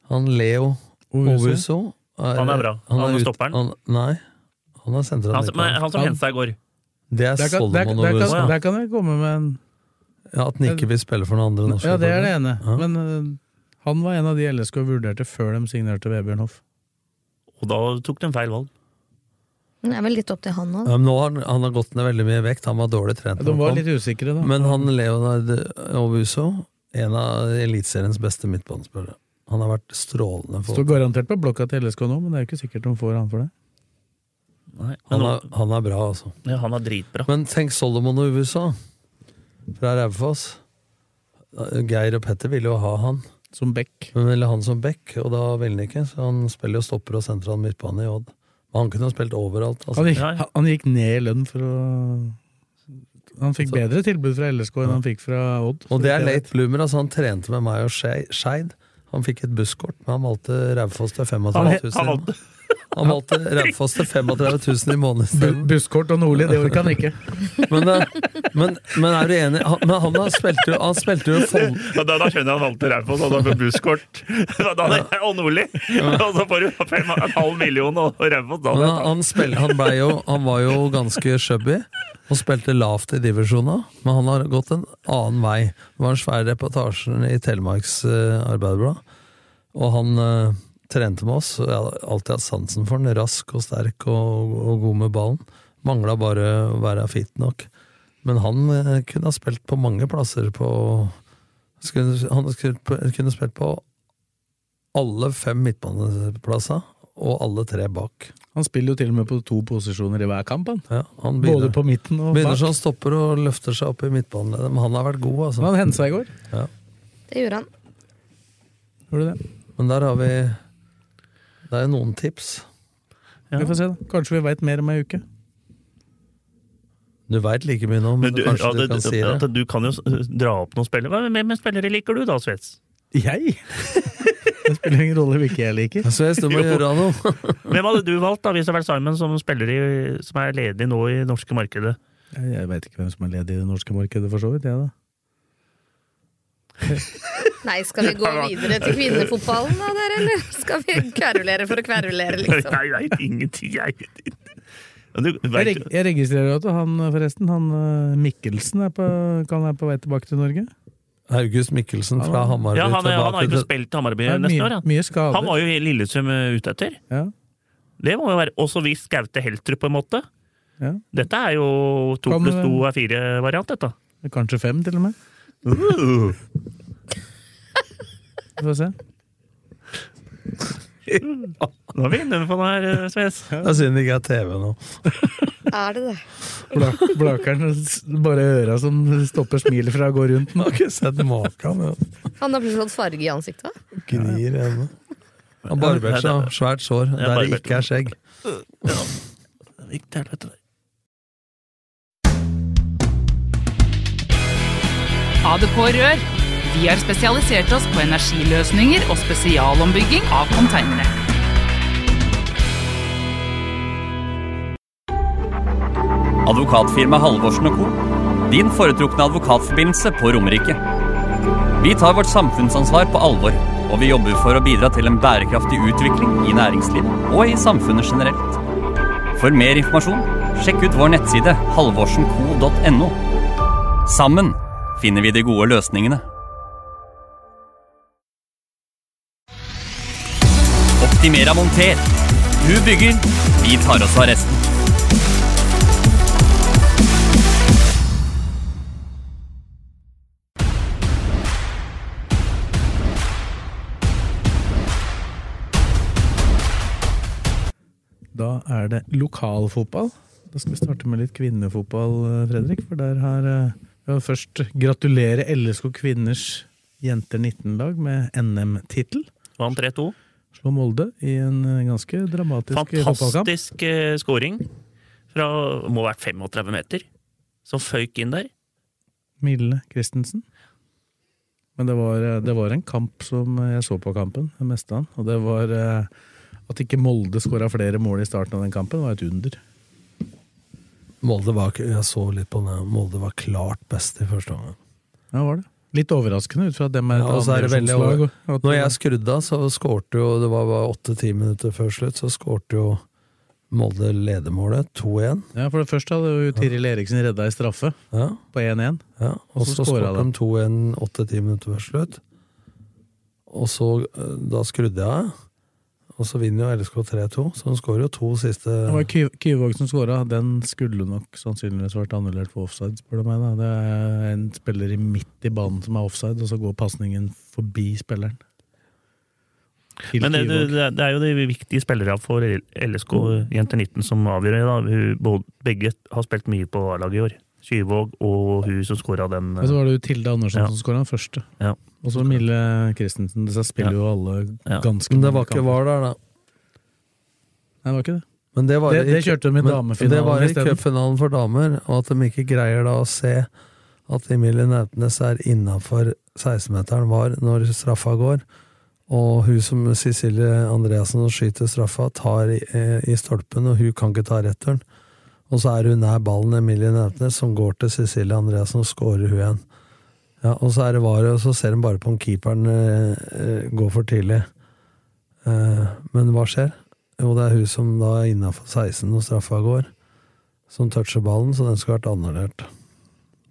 Han Leo Ovese. Ovuso. Han er bra. Han er ut- stopperen. Han, nei, han er sentral. Han, som- nei, han som Han- hentet i går. Det er Der kan, der, Solomon der, Ovuso. kan, der kan jeg komme med en Ja, at han ikke vil spille for noen andre norske Ja, det er det klubber. ene. Ja. Men eh, han var en av de LSK vurderte før de signerte Vebjørn Hoff. Og da tok de feil valg. Det er vel litt opp til han òg. Ja, men nå har han, han har gått ned veldig mye i vekt. Han var dårlig trent. De når han var kom. litt usikre, da. Men han Leonard Ovuso, en av eliteseriens beste midtbanespillere. Han har vært strålende for Står garantert på blokka til LSK nå, men det er jo ikke sikkert de får han for det. Nei, men han nå- er, han er bra, altså. ja, han er <laughs> dritbra. Men tenk Solomon Ovuso fra Raufoss. Geir og Petter ville jo ha han, Som Beck. men ville han som back, og da ville han ikke. Så han spiller jo stopper og sentral midtbane i Odd. Men han kunne jo spilt overalt. Han gikk, Altså. Ja, ja. han gikk ned i lønn for å Han fikk Så- bedre tilbud fra LSK enn han fikk fra Odd. Og det er late bloomer. Altså, han trente med meg og Skei- Skeid. Han fikk et busskort, men han valgte Raufoss til 35 000. Han valgte- Han valgte Raufoss til 35 000 i Bu- måneden <laughs> isteden. Busskort og Nordli, det orker han ikke. Men, eh, men, men er du enig? Han, men han har spilt jo, han spilte jo Foll... Ja, da, da skjønner jeg han valgte Raufoss, og da får busskort. <laughs> Da, da, og Nordli! <laughs> Og så får du fem, en halv million og og Raufoss. Da, Men han, han, spil, han, ble jo, han var jo ganske chubby og spilte lavt i divisjona, men han har gått en annen vei. Det var en svær reportasje i Telemarks eh, Arbeiderblad, og han eh, trente med oss. og Jeg har alltid hatt sansen for han, rask og sterk og, og god med ballen. Mangla bare å være fit nok. Men han eh, kunne ha spilt på mange plasser på Skulle, han skulle, på- kunne spilt på alle fem midtbaneplassene og alle tre bak. Han spiller jo til og med på to posisjoner i hver kamp, han. han Både begynner- på midten og Begynner sånn. bak. som stopper og løfter seg opp i midtbaneleddet. Men han har vært god, altså. Han hensa i går. Ja. Det gjorde han. Gjorde det. Men der har vi Det er jo noen tips. Vi får se, da. Kanskje vi veit mer om ei uke. Du veit like mye nå, men Men du, kanskje ja, du det, kan si at det. du kan jo s- eh, dra opp noen spillere. Hva- Hvem hvem spillere liker du da, Svets? Jeg? <laughs> Det spiller ingen rolle hvilke jeg liker. Så jeg står med å Jo. gjøre noe. <laughs> Hvem hadde du valgt da, hvis det hadde vært Simon som, spiller i, som er ledig nå i det norske markedet? <laughs> Jeg, jeg veit ikke hvem som er ledig i det norske markedet, for så vidt. Jeg, da. Nei, skal <laughs> vi gå videre til kvinnefotballen da, dere? Eller skal vi kverulere for å kverulere, liksom? Jeg veit ingenting, jeg. Men Du, Jeg, vet, reg jeg registrerer jo at han forresten, han eh, Mikkelsen, er på, kan være på vei tilbake til Norge. August Mikkelsen fra Hamarby ja, han, er- han har tilbake ikke til spilt i Hammarby Det er nesten mye- år. han. mye skader. Han var jo i Lillesund eh, ute etter. Ja, Det må jo være også hvis Gaute Heltrup, på en måte. ja. Dette er jo to Kan- pluss to er fire-variant, dette. Kanskje fem, til og med. <laughs> Vi får se. Nå er vi inne på den her, eh, Sves. Det er synd det ikke er TV nå. <laughs> Er det det? Bla- Blakeren og s- bare øra som stopper smilet fra å gå rundt Jeg den. har ikke sett maken. men Han har plutselig fått farge i ansiktet. hva? Gnir i øynene. Han barberte seg. har Svært sår Ja, der det barberte. ikke er skjegg. Viktig helvete. ADK Rør. Vi har spesialisert oss på energiløsninger og spesialombygging av containere. Advokatfirma Halvorsen og Co. Din foretrukne advokatforbindelse på Romerike. Vi tar vårt samfunnsansvar på alvor, og vi jobber for å bidra til en bærekraftig utvikling i næringslivet og i samfunnet generelt. For mer informasjon, sjekk ut vår nettside halvorsenco.no. Sammen finner vi de gode løsningene. Optimera monter. Du bygger, vi tar oss av resten. Da er det lokalfotball. Da skal vi starte med litt kvinnefotball, eh, Fredrik. For der har eh, vi må først gratulere LSK kvinners jenter 19-lag med NM-tittel. Vant 3-2. Slå Molde i en eh, ganske dramatisk fotballkamp. Fantastisk eh, scoring fra må ha vært 35 meter, som føyk inn der. Mille Christensen. Men det var, eh, det var en kamp som eh, jeg så på kampen, det meste av den. Og det var eh, at ikke Molde skåra flere mål i starten av den kampen, var et under. Molde var, ikke- jeg så litt på den. Molde var klart best i første omgang. Ja, var det. Litt overraskende ut fra at dem er et Ja, og så er det veldig andredivisjonslag, over. og at- Når jeg skrudde av, så skårte jo Det var bare åtte-ti minutter før slutt, så skårte jo Molde ledermålet 2-1. Ja, for det første hadde jo Tiril Eriksen redda i straffe Ja, på 1-1. ja. Og Så så skåret skåret de 2-1 åtte-ti minutter før slutt. Og så eh, Da skrudde jeg av. Og så vinner jo LSK 3-2, så de skårer jo to siste Det var Ky- Kyvåg som skåra. Den skulle nok sannsynligvis vært annullert på offside, spør du meg. da. Det er en spiller i midt i banen som er offside, og så går pasningen forbi spilleren. Til Men det, det, Kyvåg. det er jo de viktige spillere for LSK jenter 19 som avgjør det. da. Hun- både- Begge har spilt mye på A-laget i år. Skyvåg og hun som skåra den. eh, Men så var det jo Tilde Andersen Ja. som skåra den første. Ja. Og så Mille Christensen. Disse spiller Ja. jo alle Ja. ganske Men det mange var ikke kamper. VAR der, da. Nei, det var ikke det. Men det, var Det- i- det kjørte de i men damefinalen Det var i isteden. cupfinalen for damer, og at de ikke greier da å se at Emilie Nautnes er innafor 16-meteren var når straffa går. Og hun som Cecilie Andreassen som skyter straffa, tar i, eh, i stolpen, og hun kan ikke ta returen. Og så er hun nær ballen, Emilie Nautnes, som går til Cecilie Andreassen og scorer hun igjen. Ja, og så er det var, og så ser hun bare på om keeperen eh, eh, går for tidlig. Eh, men hva skjer? Jo, det er hun som da er innafor 16 når straffa går, som toucher ballen, så den skulle vært annullert.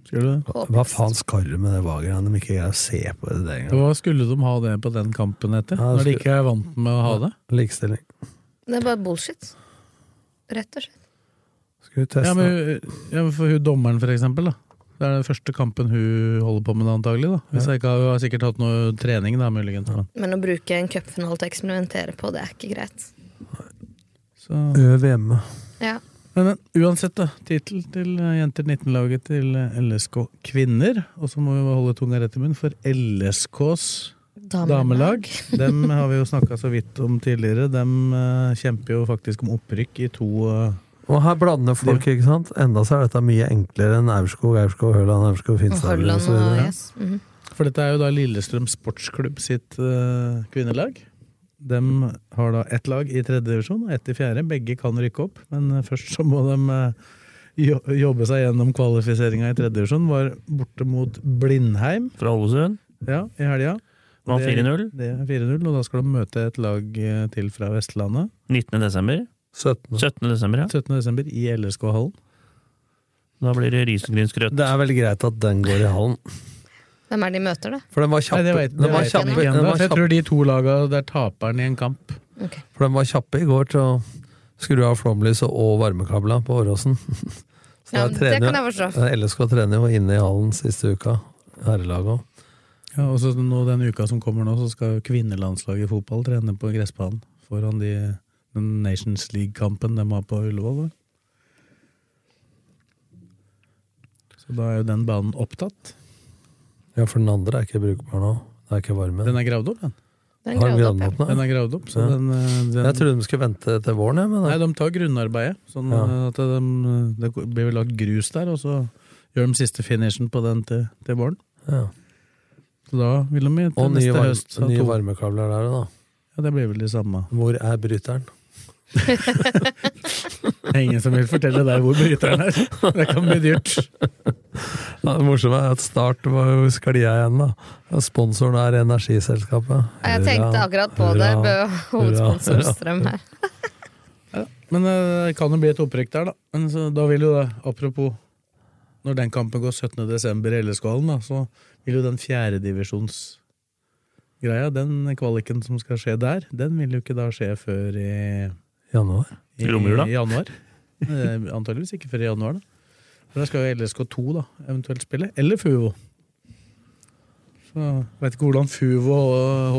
Skulle du det? Hva faen skal du med det VAR-greiene? De ikke greier å se på det der engang. Hva skulle de ha det på den kampen etter? Ja, det Når de skulle- ikke er vant med å ha det? Likestilling. Det er bare bullshit. Rett og slett. Skal vi teste? Ja, men, ja, men for hun dommeren, for eksempel. Da. Det er den første kampen hun holder på med, antagelig. da. Hvis jeg ikke har, hun har sikkert hatt noe trening, da, muligens. da. Men å bruke en cupfinale til å eksperimentere på, det er ikke greit. Øv hjemme. Ja. Men, men uansett, da. Tittel til eh, Jenter 19-laget til eh, LSK kvinner. Og så må vi holde tunga rett i munnen, for LSKs Damelag. damelag, dem har vi jo snakka så vidt om tidligere. Dem eh, kjemper jo faktisk om opprykk i to eh, Og her blander folk, ikke sant? Enda så er dette mye enklere enn Aurskog, Aurskog, Høland, Aurskog, Finstadler og så videre. Mhm. For dette er jo da Lillestrøm Sportsklubb sitt eh, kvinnelag. De har da ett lag i tredje divisjon og ett i fjerde. Begge kan rykke opp, men eh, først så må de eh, jo- jobbe seg gjennom kvalifiseringa i tredje divisjon. Var borte mot Blindheim. Fra Ålesund. Ja, i helga. Vant Det er- 4-0. Det er 4-0, og da skal de møte et lag eh, til fra Vestlandet. 19. desember. 17. 17. desember, ja. 17. desember i LSK-hallen. Da blir det risengrynsgrøt. Det er vel greit at den går i hallen. Hvem er det de møter, da? For den var kjappe. Nei, det vet den var det vet jeg kjappe, ikke den ennå, var for Jeg kjappe, tror de to laga, det er taperen i en kamp. for den var kjappe i går til å skru av flomlyset og varmekabla på Åråsen. <laughs> Så Ja, der men det trener Eh, jo- kan jeg forstå. LSK trener jo inne i hallen siste uka. Herrelaget òg. Ja, og så nå Den uka som kommer nå, så skal jo kvinnelandslaget i fotball trene på gressbanen foran de, den Nations League-kampen de har på Ullevål. Da. Så da er jo den banen opptatt. Ja, for den andre er ikke brukbar nå. Det er ikke varme. Den er gravd opp, den. Den er Har den gravd opp, ja. gravd opp, nei? Den er gravd opp, så Ja. den, eh, den Jeg trodde de skulle vente til våren, jeg, men Nei, de tar grunnarbeidet. Sånn Ja. eh, at de, det blir vel lagt grus der, og så gjør de siste finishen på den til, til våren. Ja. Så da vil de til Og nye, neste varme, høst ha nye to. varmekabler der, da. Ja, det blir vel de samme. Hvor er bryteren? Det er ingen som vil fortelle deg hvor bryteren er. Det kan bli dyrt. Ja, det morsomme er at Start var jo sklia igjen, da. Ja, Sponsoren er energiselskapet. Ja, Jeg tenkte Hurra, akkurat på det. hurra, Bø hovedsponsor hurra. Strøm her. Men eh, det kan jo bli et opprykk der, da. Men så, da vil jo det, apropos Når den kampen går 17.12. i LSK-hallen, da, så vil jo den fjerdedivisjonsgreia, den kvaliken som skal skje der, den vil jo ikke da skje før i, Januar. i Romjula. i januar. Eh, Antageligvis ikke før i januar, da. For da skal jo LSK2 da eventuelt spille, eller FUVO. Så Veit ikke hvordan FUVO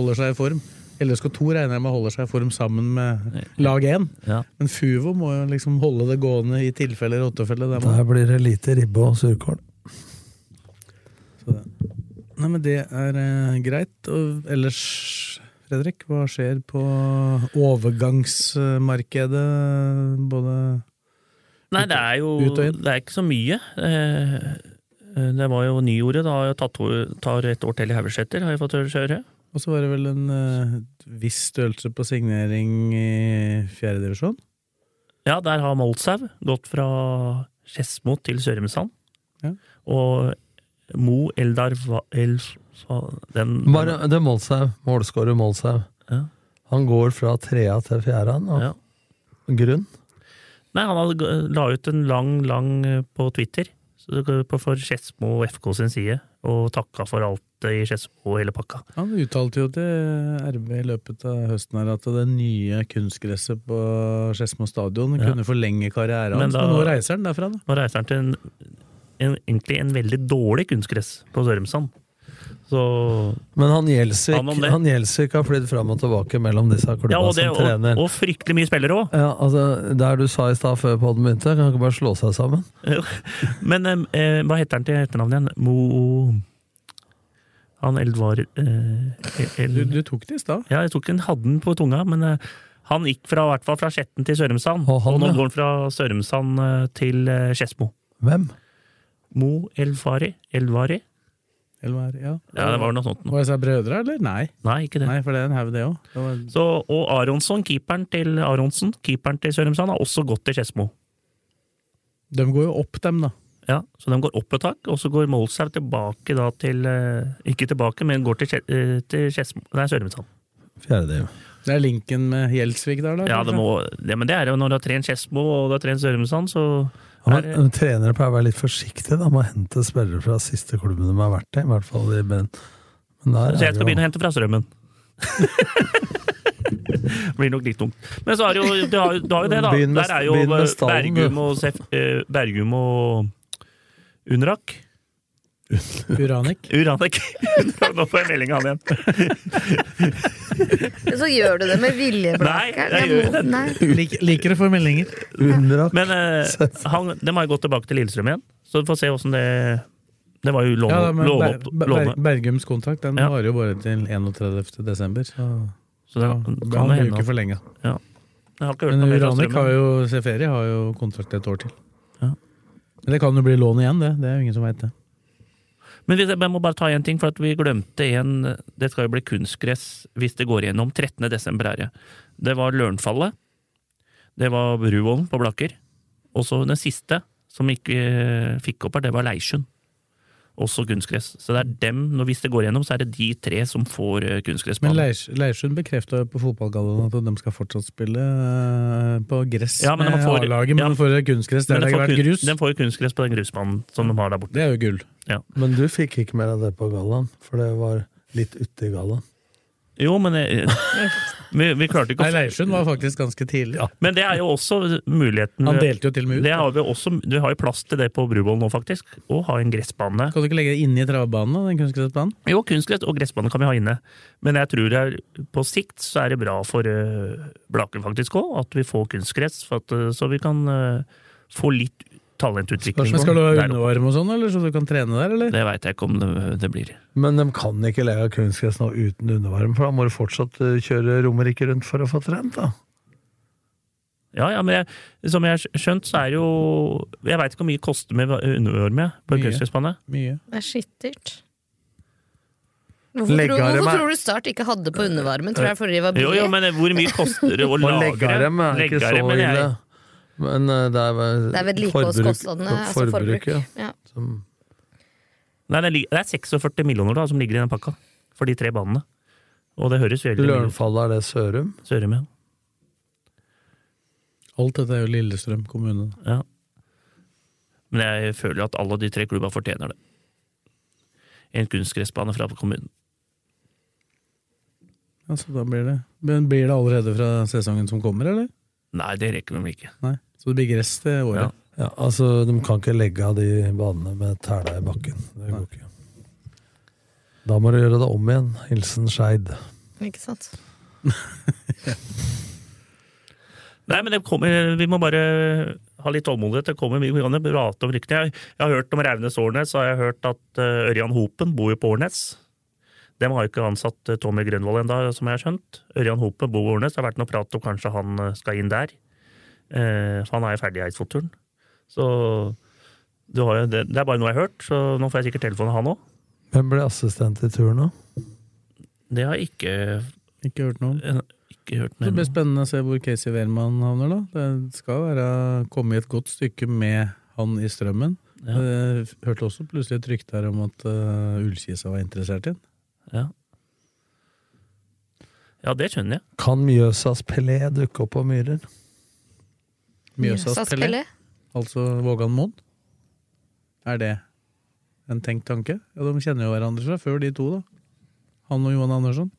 holder seg i form. LSK2 regner jeg med holder seg i form sammen med lag 1. Ja. Men Fuvo må jo liksom holde det gående i tilfelle rottefelle. der man- Der blir det lite ribbe og surkål. Så det. Nei, men det er eh, greit. Og ellers, Fredrik, hva skjer på overgangsmarkedet? Både Nei, det er jo Ut og inn. Det er ikke så mye. Eh, eh, Det var jo nyordet. Da har jeg tatt, tar et år til i Haugeseter, har jeg fått høre. Og så var det vel en eh, viss størrelse på signering i fjerdedivisjon? Ja, der har Molshaug gått fra Skedsmo til Sørumsand. Ja. Og Mo Eldar Va- Elf... Fa- Den, Bare, det er Målshaug. Målskårer Målshaug. Ja. Han går fra trea til fjerde, han. Ja. av Grunn. Nei, han hadde, g- la ut en lang, lang eh, på Twitter så det går på for Skedsmo FK sin side, og takka for alt eh, i Skedsmo og hele pakka. Han uttalte jo til RB i løpet av høsten her at det nye kunstgresset på Skedsmo stadion Ja. kunne forlenge karrieren Men hans. da- Men nå reiser han derfra, da. Nå reiser han til en, en, egentlig en veldig dårlig kunstgress på Sørumsand. Så Men han Gjelsvik, Han om det. han Gjelsvik har flydd fram og tilbake mellom disse klubba Ja, og, det, som og, trener. og fryktelig mye spillere òg. Ja, altså, Der du sa i stad før podden begynte, kan ikke bare slå seg sammen? <laughs> Men eh, eh, hva heter han til etternavn igjen? Mo Han Eldvar eh, El, Du, du tok det i stad. Ja, jeg tok en hadden på tunga, men eh, han gikk fra, i hvert fall fra Skjetten til Sørumsand. Og Og, han, nå ja. går han fra Sørumsand eh, til eh, Skedsmo. Hvem? Mo Elfari? Elvari? Eller hva er det? Ja. Ja, det var noe sånt. nå. Var disse brødre, eller? Nei. Nei, ikke det. Nei, for det er en haug, det òg. Så, og Aronsson, keeperen til Aronsen, keeperen til Sørumsand, har også gått til Skedsmo. De går jo opp, dem, da. Ja, så de går opp et tak, og så går Molshaug tilbake da til eh, Ikke tilbake, men går til, Skje- eh, til Skedsmo Nei, Sørumsand. Fjerdediv. Det er linken med Gjelsvik der, da. Ja, kanskje? det må, det, men det er jo når du har trent Skedsmo og du har trent Sørumsand, så Ja, er, men det- Trenere pleier å være litt forsiktige da, med å hente spillere fra siste klubben de har vært i. i hvert fall i ben. eh, Men der Så er jeg skal det begynne jo å hente fra strømmen. <laughs> Blir nok litt tungt. Men så har jo, du har, jo- du har jo det, da. Begynn med- Der er jo begynn med stallen, du. Bergum og, Sef, eh, Bergum og Unrak. <laughs> Uranek. Uranek. <laughs> Nå får jeg melding av han igjen. Så gjør du det med vilje, Nei, Blakkaren. jeg gjør det. Nei. Lik, liker å få meldinger. Men eh, han, de har jo gått tilbake til Lillestrøm igjen, så vi får se åssen det Det var jo låne Ja, men låne Ber, opp Ber, låne. Bergums kontrakt den Ja. varer jo bare til 31. desember. Så, Så det han kan blir jo jo hende ikke at- forlenga. Ja. Jeg har ikke hørt Men noe mer fra Uranek Strømmen. har jo, Seferi har jo kontrakt et år til. Men det kan jo bli lån igjen, det. Det er jo ingen som veit det. Men vi, jeg må bare ta én ting, for at vi glemte en Det skal jo bli kunstgress hvis det går gjennom 13. desember her. ja. Det var Lørenfallet. Det var Bruvollen på Blakker. Og så den siste som ikke eh, fikk opp her, det var Leirsund. Også kunstgress. Så det er dem, når, hvis det går gjennom, så er det de tre som får eh, Men kunstgressbanen. Leirs- Leirsund bekrefta på fotballgallaen at de skal fortsatt spille eh, på gress Ja, men de med får- A-laget, men ja. de får kunstgress der det Men den har får vært kun- grus. Den får jo kunstgress på den grusbanen som de har der borte. Det er jo gull. Ja. Men du fikk ikke mer av det på gallaen, for det var litt ute i gallaen. Jo, men eh, <laughs> vi, vi klarte ikke Nei, å Leirsund var faktisk ganske tidlig. Men det er jo også muligheten Han delte jo til og med ut. Det har vi, også, vi har jo plass til det på Bruvollen nå, faktisk. Å ha en gressbane. Kan du ikke legge det inne i travbanen, da, den kunstgressbanen? Jo, kunstgress og gressbane kan vi ha inne. Men jeg tror det er, på sikt så er det bra for uh, Blaker faktisk òg, at vi får kunstgress. For at, eh, så vi kan eh, få litt talentutvikling. Men skal du ha der oppe. underarm og sånn, eller så du kan trene der, eller? Det veit jeg ikke om det, det blir. Men de kan ikke leve av kunstgress nå uten undervarme, for da må du fortsatt eh, kjøre Romerike rundt for å få trent, da. Ja, ja, men jeg, som jeg har skjønt, så er jo Jeg veit ikke hvor mye det koster med underorm jeg, på Mye. kunstgressbane. Mye. Det er skittert. Hvorfor, Legge tror, av dem hvorfor er- tror du Start ikke hadde på undervarmen? Tror jeg fordi det var billig. Jo, jo, men hvor mye koster det å Å lagre? legge av dem er ikke Legge av så dem, men jeg- ille. Men eh, det er, Det er vedlikeholdskostnadene, altså forbruk. forbruket. Ja. Som- Nei, det, lig- det er 46 millioner da, som ligger i den pakka, for de tre banene. Og det høres veldig mye ut. Lørenfallet, er det Sørum? Sørum, ja. Alt dette er jo Lillestrøm kommune. ja. Men jeg føler at alle de tre klubba fortjener det. En kunstgressbane fra kommunen. Ja, så da blir det. Men blir det allerede fra sesongen som kommer, eller? Nei, det rekker de vel ikke. Nei. Så det blir gress til året. Ja. Ja, altså, de kan ikke legge av de banene med tæla i bakken. Det går ikke. Da må du gjøre det om igjen. Hilsen Skeid. Ikke sant? Nei, men det kommer, vi må bare ha litt tålmodighet. Det kommer mye vi kan jo prate om ryktene. Jeg, jeg har hørt om Raunes Årnes, og jeg har hørt at eh, Ørjan Hopen bor jo på Årnes. De har jo ikke ansatt eh, Tommy Grønvold ennå, som jeg har skjønt. Ørjan Hopen bor på Årnes. Det har vært noe prat om kanskje han eh, skal inn der. Eh, for han er jo ferdig i Eidsvollturen. Så du har jo, det, det er bare noe jeg har hørt, så nå får jeg sikkert telefonen av han òg. Hvem ble assistent i tur nå? Det har jeg ikke, Ikke hørt noe om. eh, ikke hørt Så Det noe blir om. spennende å se hvor Casey Wehrmann havner, da. Det skal være komme i et godt stykke med han i strømmen. Ja. Eh, Hørte også plutselig et rykte her om at eh, Ullkisa var interessert i ham. Ja. ja, det skjønner jeg. Kan Mjøsas Pelé dukke opp på Myrer? Mjøsas Pelé, altså Vågan Moen. Er det en tenkt tanke? Ja, De kjenner jo hverandre fra før, de to, da. Han og Johan Andersson.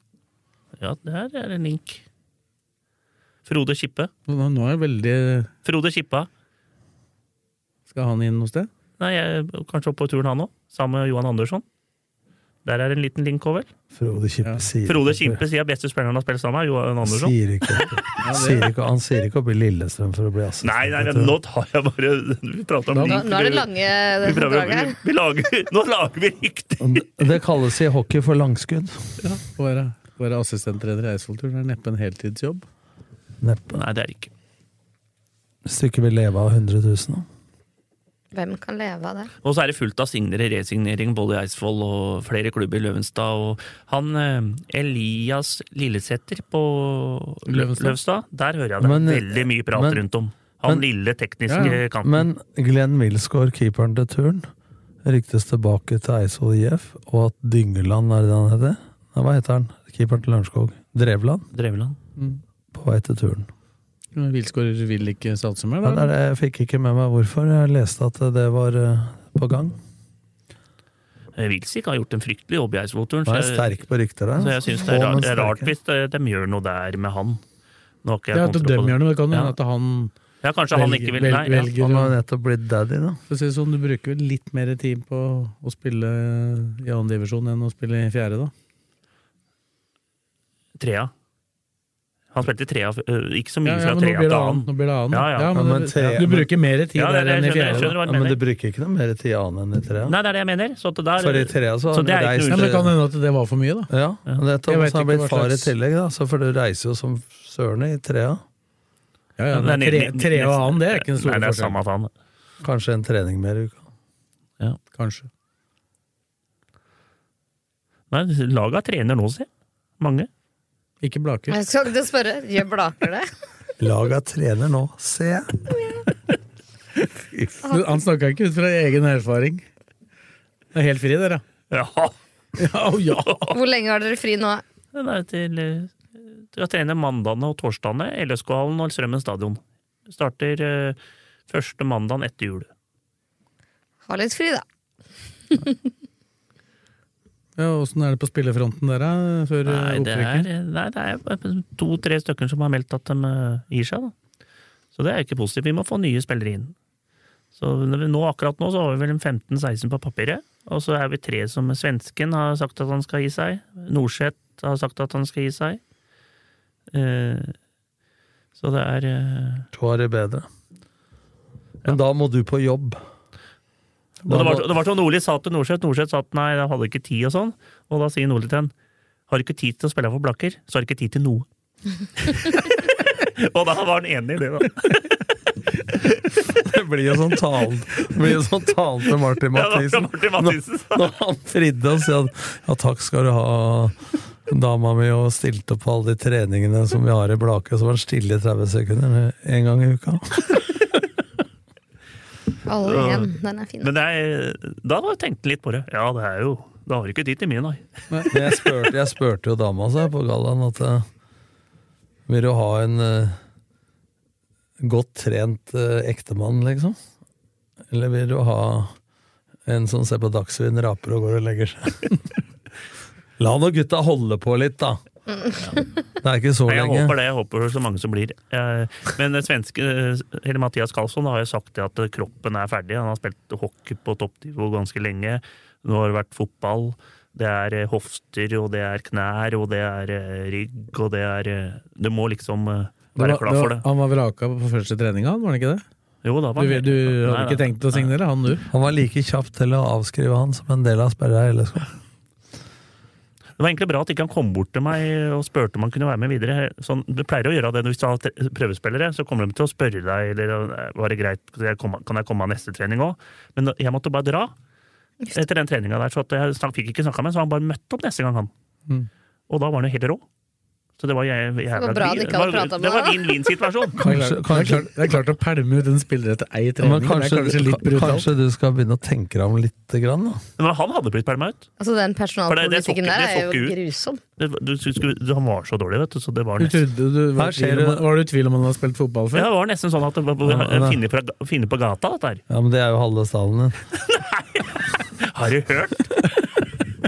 Ja, der er en link. Frode Kippe. Nå nå er det veldig Frode Kippa. Skal han inn noe sted? Nei, jeg, kanskje opp på turen han òg, sammen med Johan Andersson. Der er en liten link over. Frode Kippe Ja. sier Frode Kimpe sier beste spilleren har spilt sammen med Johan Andersson. Sier ikke, <laughs> sier ikke, han sier ikke opp i Lillestrøm for å bli assistent. Nei, nei, i men Turen. nå tar jeg bare Vi prater om Nå, link. nå er det lange Vi prøver- drag her. vi, vi lager, nå lager vi rykter! Det kalles i hockey for langskudd. Å være, å være assistentleder i Eidsvollturen er neppe en heltidsjobb. Neppe. Nei, det er det ikke. Stykket vil leve av 100 000. da. Hvem kan leve av det? Og så er det fullt av signere, resignering, både i Eidsvoll og flere klubber i Løvenstad. Og han eh, Elias Lillesæter på Løvenstad. Løvenstad. der hører jeg det Men, eh, veldig mye prat men- rundt om. Han men- lille tekniske Ja, ja. kanten. Men Glenn Milsgaard, keeperen til turn, ryktes tilbake til Eidsvoll IF, og at Dyngeland er det han heter? Nei, hva heter han? Keeperen til Lørenskog. Drevland, Drevland. på vei til turn. Wilsgård vil ikke satse mer, Men da? er det, jeg fikk ikke med meg hvorfor. Jeg leste at det var eh, på gang. Eh, Wilsvik har gjort en fryktelig jobb i Eidsvollturen. Han så er jeg- sterk på rykter Så der. jeg altså. syns det er Faen, rart, han det er rart eh, sterke. hvis de, de gjør noe der med han. Nå har ikke Det jeg er at dem kontroll på det. gjør noe, det kan jo Ja. hende at han Ja, kanskje han ikke vil- nei, ja. velger Han har å- nettopp blitt daddy, da. For å si det sånn, Du bruker vel litt mer tid på å spille i annen divisjon enn å spille i fjerde, da? Trea. Han spilte i trea, øh, ikke så mye Ja, ja, fra men nå trea blir til det annen. annet. Nå blir det annet. Ja, ja. Ja, men Ja, men du- tre- du bruker mer tid Ja, det er der det enn i jeg skjønner, jeg fjerde. skjønner hva Ja, du men mener. du bruker ikke noe mer tid annet enn i trea. Nei, det er det jeg mener. Så at det der, For i trea så det er ikke har han reist- Ja, men noe det kan hende at det var for mye, da. Ja, og Jeg nettopp. vet Så han ikke er hva blitt far i slags- tillegg, da. Så for du reiser jo som søren i trea. Ja, ja, Det er men tre, nydelig. tre og annen, det er ikke den Nei, store det er samme forskjellen. faen. Kanskje en trening mer i uka. Kanskje. Nei, laga trener nå, se. Mange. Ikke Blaker. Jeg skal ikke spørre. Gjør <laughs> Blaker det? Laga trener nå, ser jeg. Men Han snakka ikke ut fra egen erfaring. Det er helt fri, dere. <laughs> Ja! Ja, og ja. Hvor lenge har dere fri nå? Den er til øh, Skal trene mandagene og torsdagene. LSK-hallen og Strømmen stadion. Starter øh, første mandagen etter jul. Ha litt fri, da. ja Åssen er det på spillefronten der, da? Før Nei, det er, opprykken? nei, det er to-tre stykker som har meldt at de eh, gir seg. Da. Så det er ikke positivt. Vi må få nye spillere inn. Så nå, akkurat nå så har vi vel en 15-16 på papiret. Og så er vi tre som Svensken har sagt at han skal gi seg. Norseth har sagt at han skal gi seg. Eh, så det er eh, To er det bedre. Men da må du på jobb. Og det var, det var som Nordli sa til Norseth. Norseth sa at nei, jeg hadde ikke tid og sånn. Og da sier Nordli til han har du ikke tid til å spille for Blakker, så har du ikke tid til noe. <laughs> og da var han enig i det, da. <laughs> <laughs> Det blir jo sånn talen Det blir jo sånn talen til <laughs> Martin Ja, det var Mathisen. Martin Mathisen. sa. Når han fridde og sa at ja, takk skal du ha, dama mi, og stilte opp på alle de treningene som vi har i Blake, så var han stille i 30 sekunder en gang i uka. Alle igjen. Den er fin. Men det er, da var- tenkte han litt på det. Ja, det er jo Da har du ikke tid til mye, nei. Men jeg spurte, jeg spurte jo dama seg på gallaen at eh, Vil du ha en eh, godt trent eh, ektemann, liksom? Eller vil du ha en som ser på Dagsrevyen, raper og går og legger seg? <laughs> La nå gutta holde på litt, da! Det er ikke så Nei, Jeg lenge. håper det. Jeg håper så mange som blir. Eh, Men svenske, eh, eller Mathias Karlsson har jo sagt det at kroppen er ferdig. Han har spilt hockey på toppnivå ganske lenge. Nå har det vært fotball. Det er eh, hofter, og det er knær, og det er eh, rygg, og det er eh, Du må liksom eh, Det være var, klar det for var, det. han var vraka på første treninga, var han ikke det? Jo, da var Du, han- du Nei, hadde ikke nei. tenkt å signere han, du? Han var like kjapp til å avskrive han som en del av sperra i LSK. Det var egentlig bra at ikke han kom bort til meg og spurte om han kunne være med videre. Sånn, du pleier å gjøre det hvis du har tre- prøvespillere, så kommer de til å spørre deg eller eh, var det greit, kan jeg komme- kan jeg komme av neste trening òg. Men jeg måtte bare dra etter den treninga der, så at jeg snak, fikk ikke snakka med ham, så han bare møtte opp neste gang, han. Mm. Og da var han jo helt rå. Så det var jæ- jævla var bra han ikke det var- hadde pratet med Det var deg. <laughs> vinn-vinn-situasjon. Det er klart- kanskje- det, er klart, det er klart å pælme ut en spiller etter ei Men trening. det kanskje, er kanskje litt brutalt. kanskje du skal begynne å tenke deg om lite grann, da? Men han hadde blitt pælma ut. Altså, den For det- det så ikke- personalpolitikken der det så er jo ikke ut. grusom. Det, du, skulle- du, han var så dårlig, vet du, så det var Du nesten trodde du var, Her i skjer tvil om, det- var du i tvil om han hadde spilt fotball ja, før? det var nesten sånn at det var- Ja, finne fra- finne på gata, dette her. Ja, men det er jo halve stallen din. Har du hørt?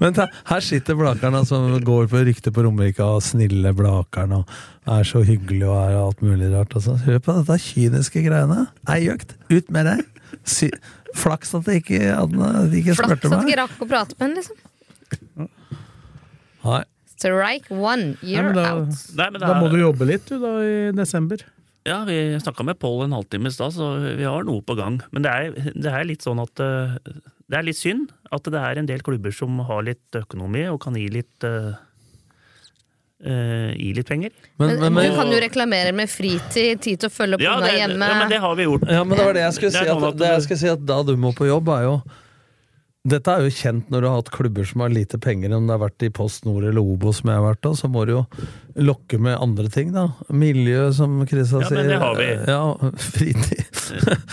Men ta, her sitter Blakerne som går på rykte på Romerike og snille Blakerne og er så hyggelig og er alt mulig rart. Og sånn. Hør på dette kyniske greiene. Ei økt, ut med deg. Sy Flaks at de ikke, at de ikke Flaks spurte at meg. ikke rakk å prate med henne, liksom. Nei. Strike one, Nei, you're men out. da, Nei, men det da er- må du jobbe litt, du, da, i desember. Ja, vi snakka med Pål en halvtime i stad, så vi har noe på gang. Men det er, det er litt sånn at eh, Det er litt synd at det er en del klubber som har litt økonomi og kan gi litt eh, eh, Gi litt penger. Men, Men, men, men, du kan jo reklamere med fritid, tid til å følge opp Ja, unna det, ja, hjemme. men det har vi gjort. ja, men det var det jeg skulle Det er si. At, sånn at det jeg du- skulle si at da du må på jobb, er jo dette er jo kjent når du har hatt klubber som har lite penger, om det har vært i Post Nord eller Obos, som jeg har vært da, så må du jo lokke med andre ting, da. Miljø, som Kristian Ja, sier. men det har vi. Ja, fritid.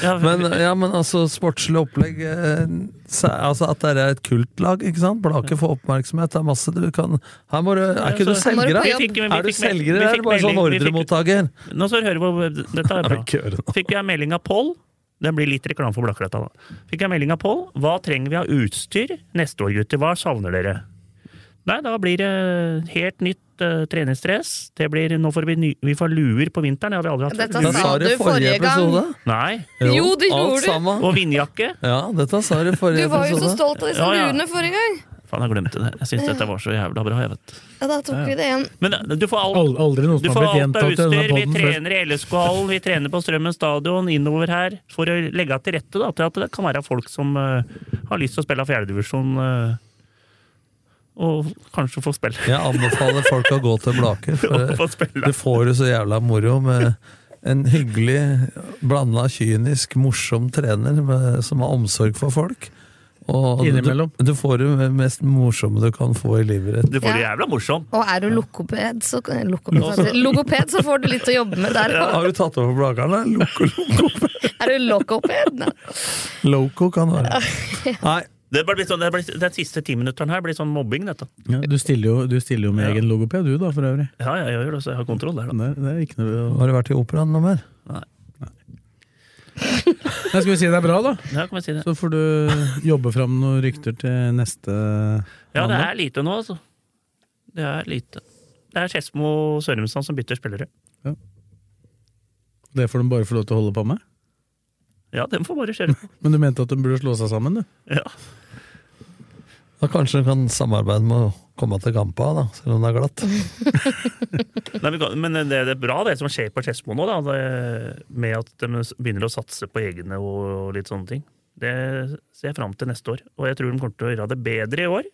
Ja, Men, ja, men altså, sportslig opplegg eh, så- Altså At det er et kultlag, ikke sant? Blake får oppmerksomhet. Det er masse du kan Her må du Er ikke Ja, du så- selger, da? Vi Er vi fikk- du fikk mel- vi selger, eller er fikk du bare sånn melding- vi fikk- ordremottaker? Nå skal du høre på Dette er bra. Ikke gjør det nå. Fikk jeg melding av Pål. Den blir litt reklame for Blakkletta, da. Fikk jeg melding av Pål. Hva trenger vi av utstyr neste år, gutter? Hva savner dere? Nei, da blir det helt nytt eh, treningsstress. Det blir, nå får vi, ny, vi får luer på vinteren. Det har vi aldri hatt. Dette Luer. sa Sa du du forrige forrige gang. episode. Nei. Jo, det gjorde du. Og vindjakke. Ja, dette sa du Du forrige var jo så stolt av disse Ja, ja. duene forrige gang. Faen, jeg glemte det. Jeg syns dette var så jævla bra. jeg vet. Ja, da tok Ja, ja. vi det igjen. Men eh, du får alt. Aldri noe Du som får har blitt alt av gjentatt i denne utstyr. Vi podden før. trener i LSK-hallen, vi trener på Strømmen stadion, innover her. For å legge til rette da, til at det kan være folk som eh, har lyst til å spille fjerdedivisjon. Uh, og kanskje få spille. Jeg anbefaler folk å gå til Blaker, <laughs> for du får det så jævla moro med en hyggelig, blanda, kynisk, morsom trener med, som har omsorg for folk. Og du, Innimellom. du får det mest morsomme du kan få i livet ditt. Du får det jævla morsom. Og er du lokoped, så, lokoped, sa jeg. logoped, så får du litt å jobbe med der. Ja, har du tatt over Blakeren? da? Loco, loco. Er du lokoped? Nei. Loco kan det være. Nei. Det blir sånn, det blir, den siste timinutteren her blir sånn mobbing, dette. Ja, du, stiller jo, du stiller jo med egen logoped, du da, for øvrig. Ja, ja, jeg gjør det, så jeg har kontroll der, da. Det, det er ikke noe å... Har du vært i operaen noe mer? Nei, skal vi si det er bra, da? Ja, kan vi si det. Så får du jobbe fram noen rykter til neste Ja, det mandag. er lite nå, altså. Det er lite. Det er Skedsmo og Sørumsand som bytter spillere. Det får de bare få lov til å holde på med? Ja, dem får bare skjelle på. Men du mente at de burde slå seg sammen, du? Ja. Da kanskje du kan samarbeide med å komme til Gampa, da, selv om det er glatt. Nei, men kan- men det, det er bra det som skjer på Skedsmo nå, da, det, med at de begynner å satse på egne og litt sånne ting. Det ser jeg fram til neste år. Og jeg tror de kommer til å gjøre det bedre i år,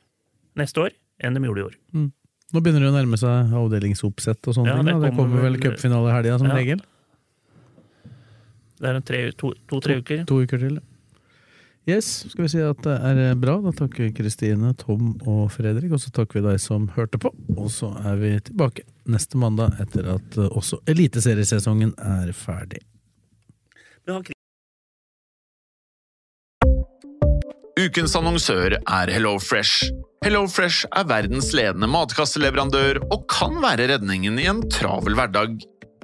neste år, enn de gjorde i år. Nå begynner det å nærme seg avdelingsoppsett og sånne Ja, ting. det da. Det kommer kommer vel vel- cupfinale i helga, som Ja. regel. Det er to-tre to, to, tre uker. To uker til. Yes, skal vi si at det er eh, bra. Da takker vi Kristine, Tom og Fredrik, og så takker vi deg som hørte på. Og så er vi tilbake neste mandag etter at eh, også eliteseriesesongen er ferdig. Vi har Ukens annonsør er HelloFresh. HelloFresh er verdens ledende matkasseleverandør og kan være redningen i en travel hverdag.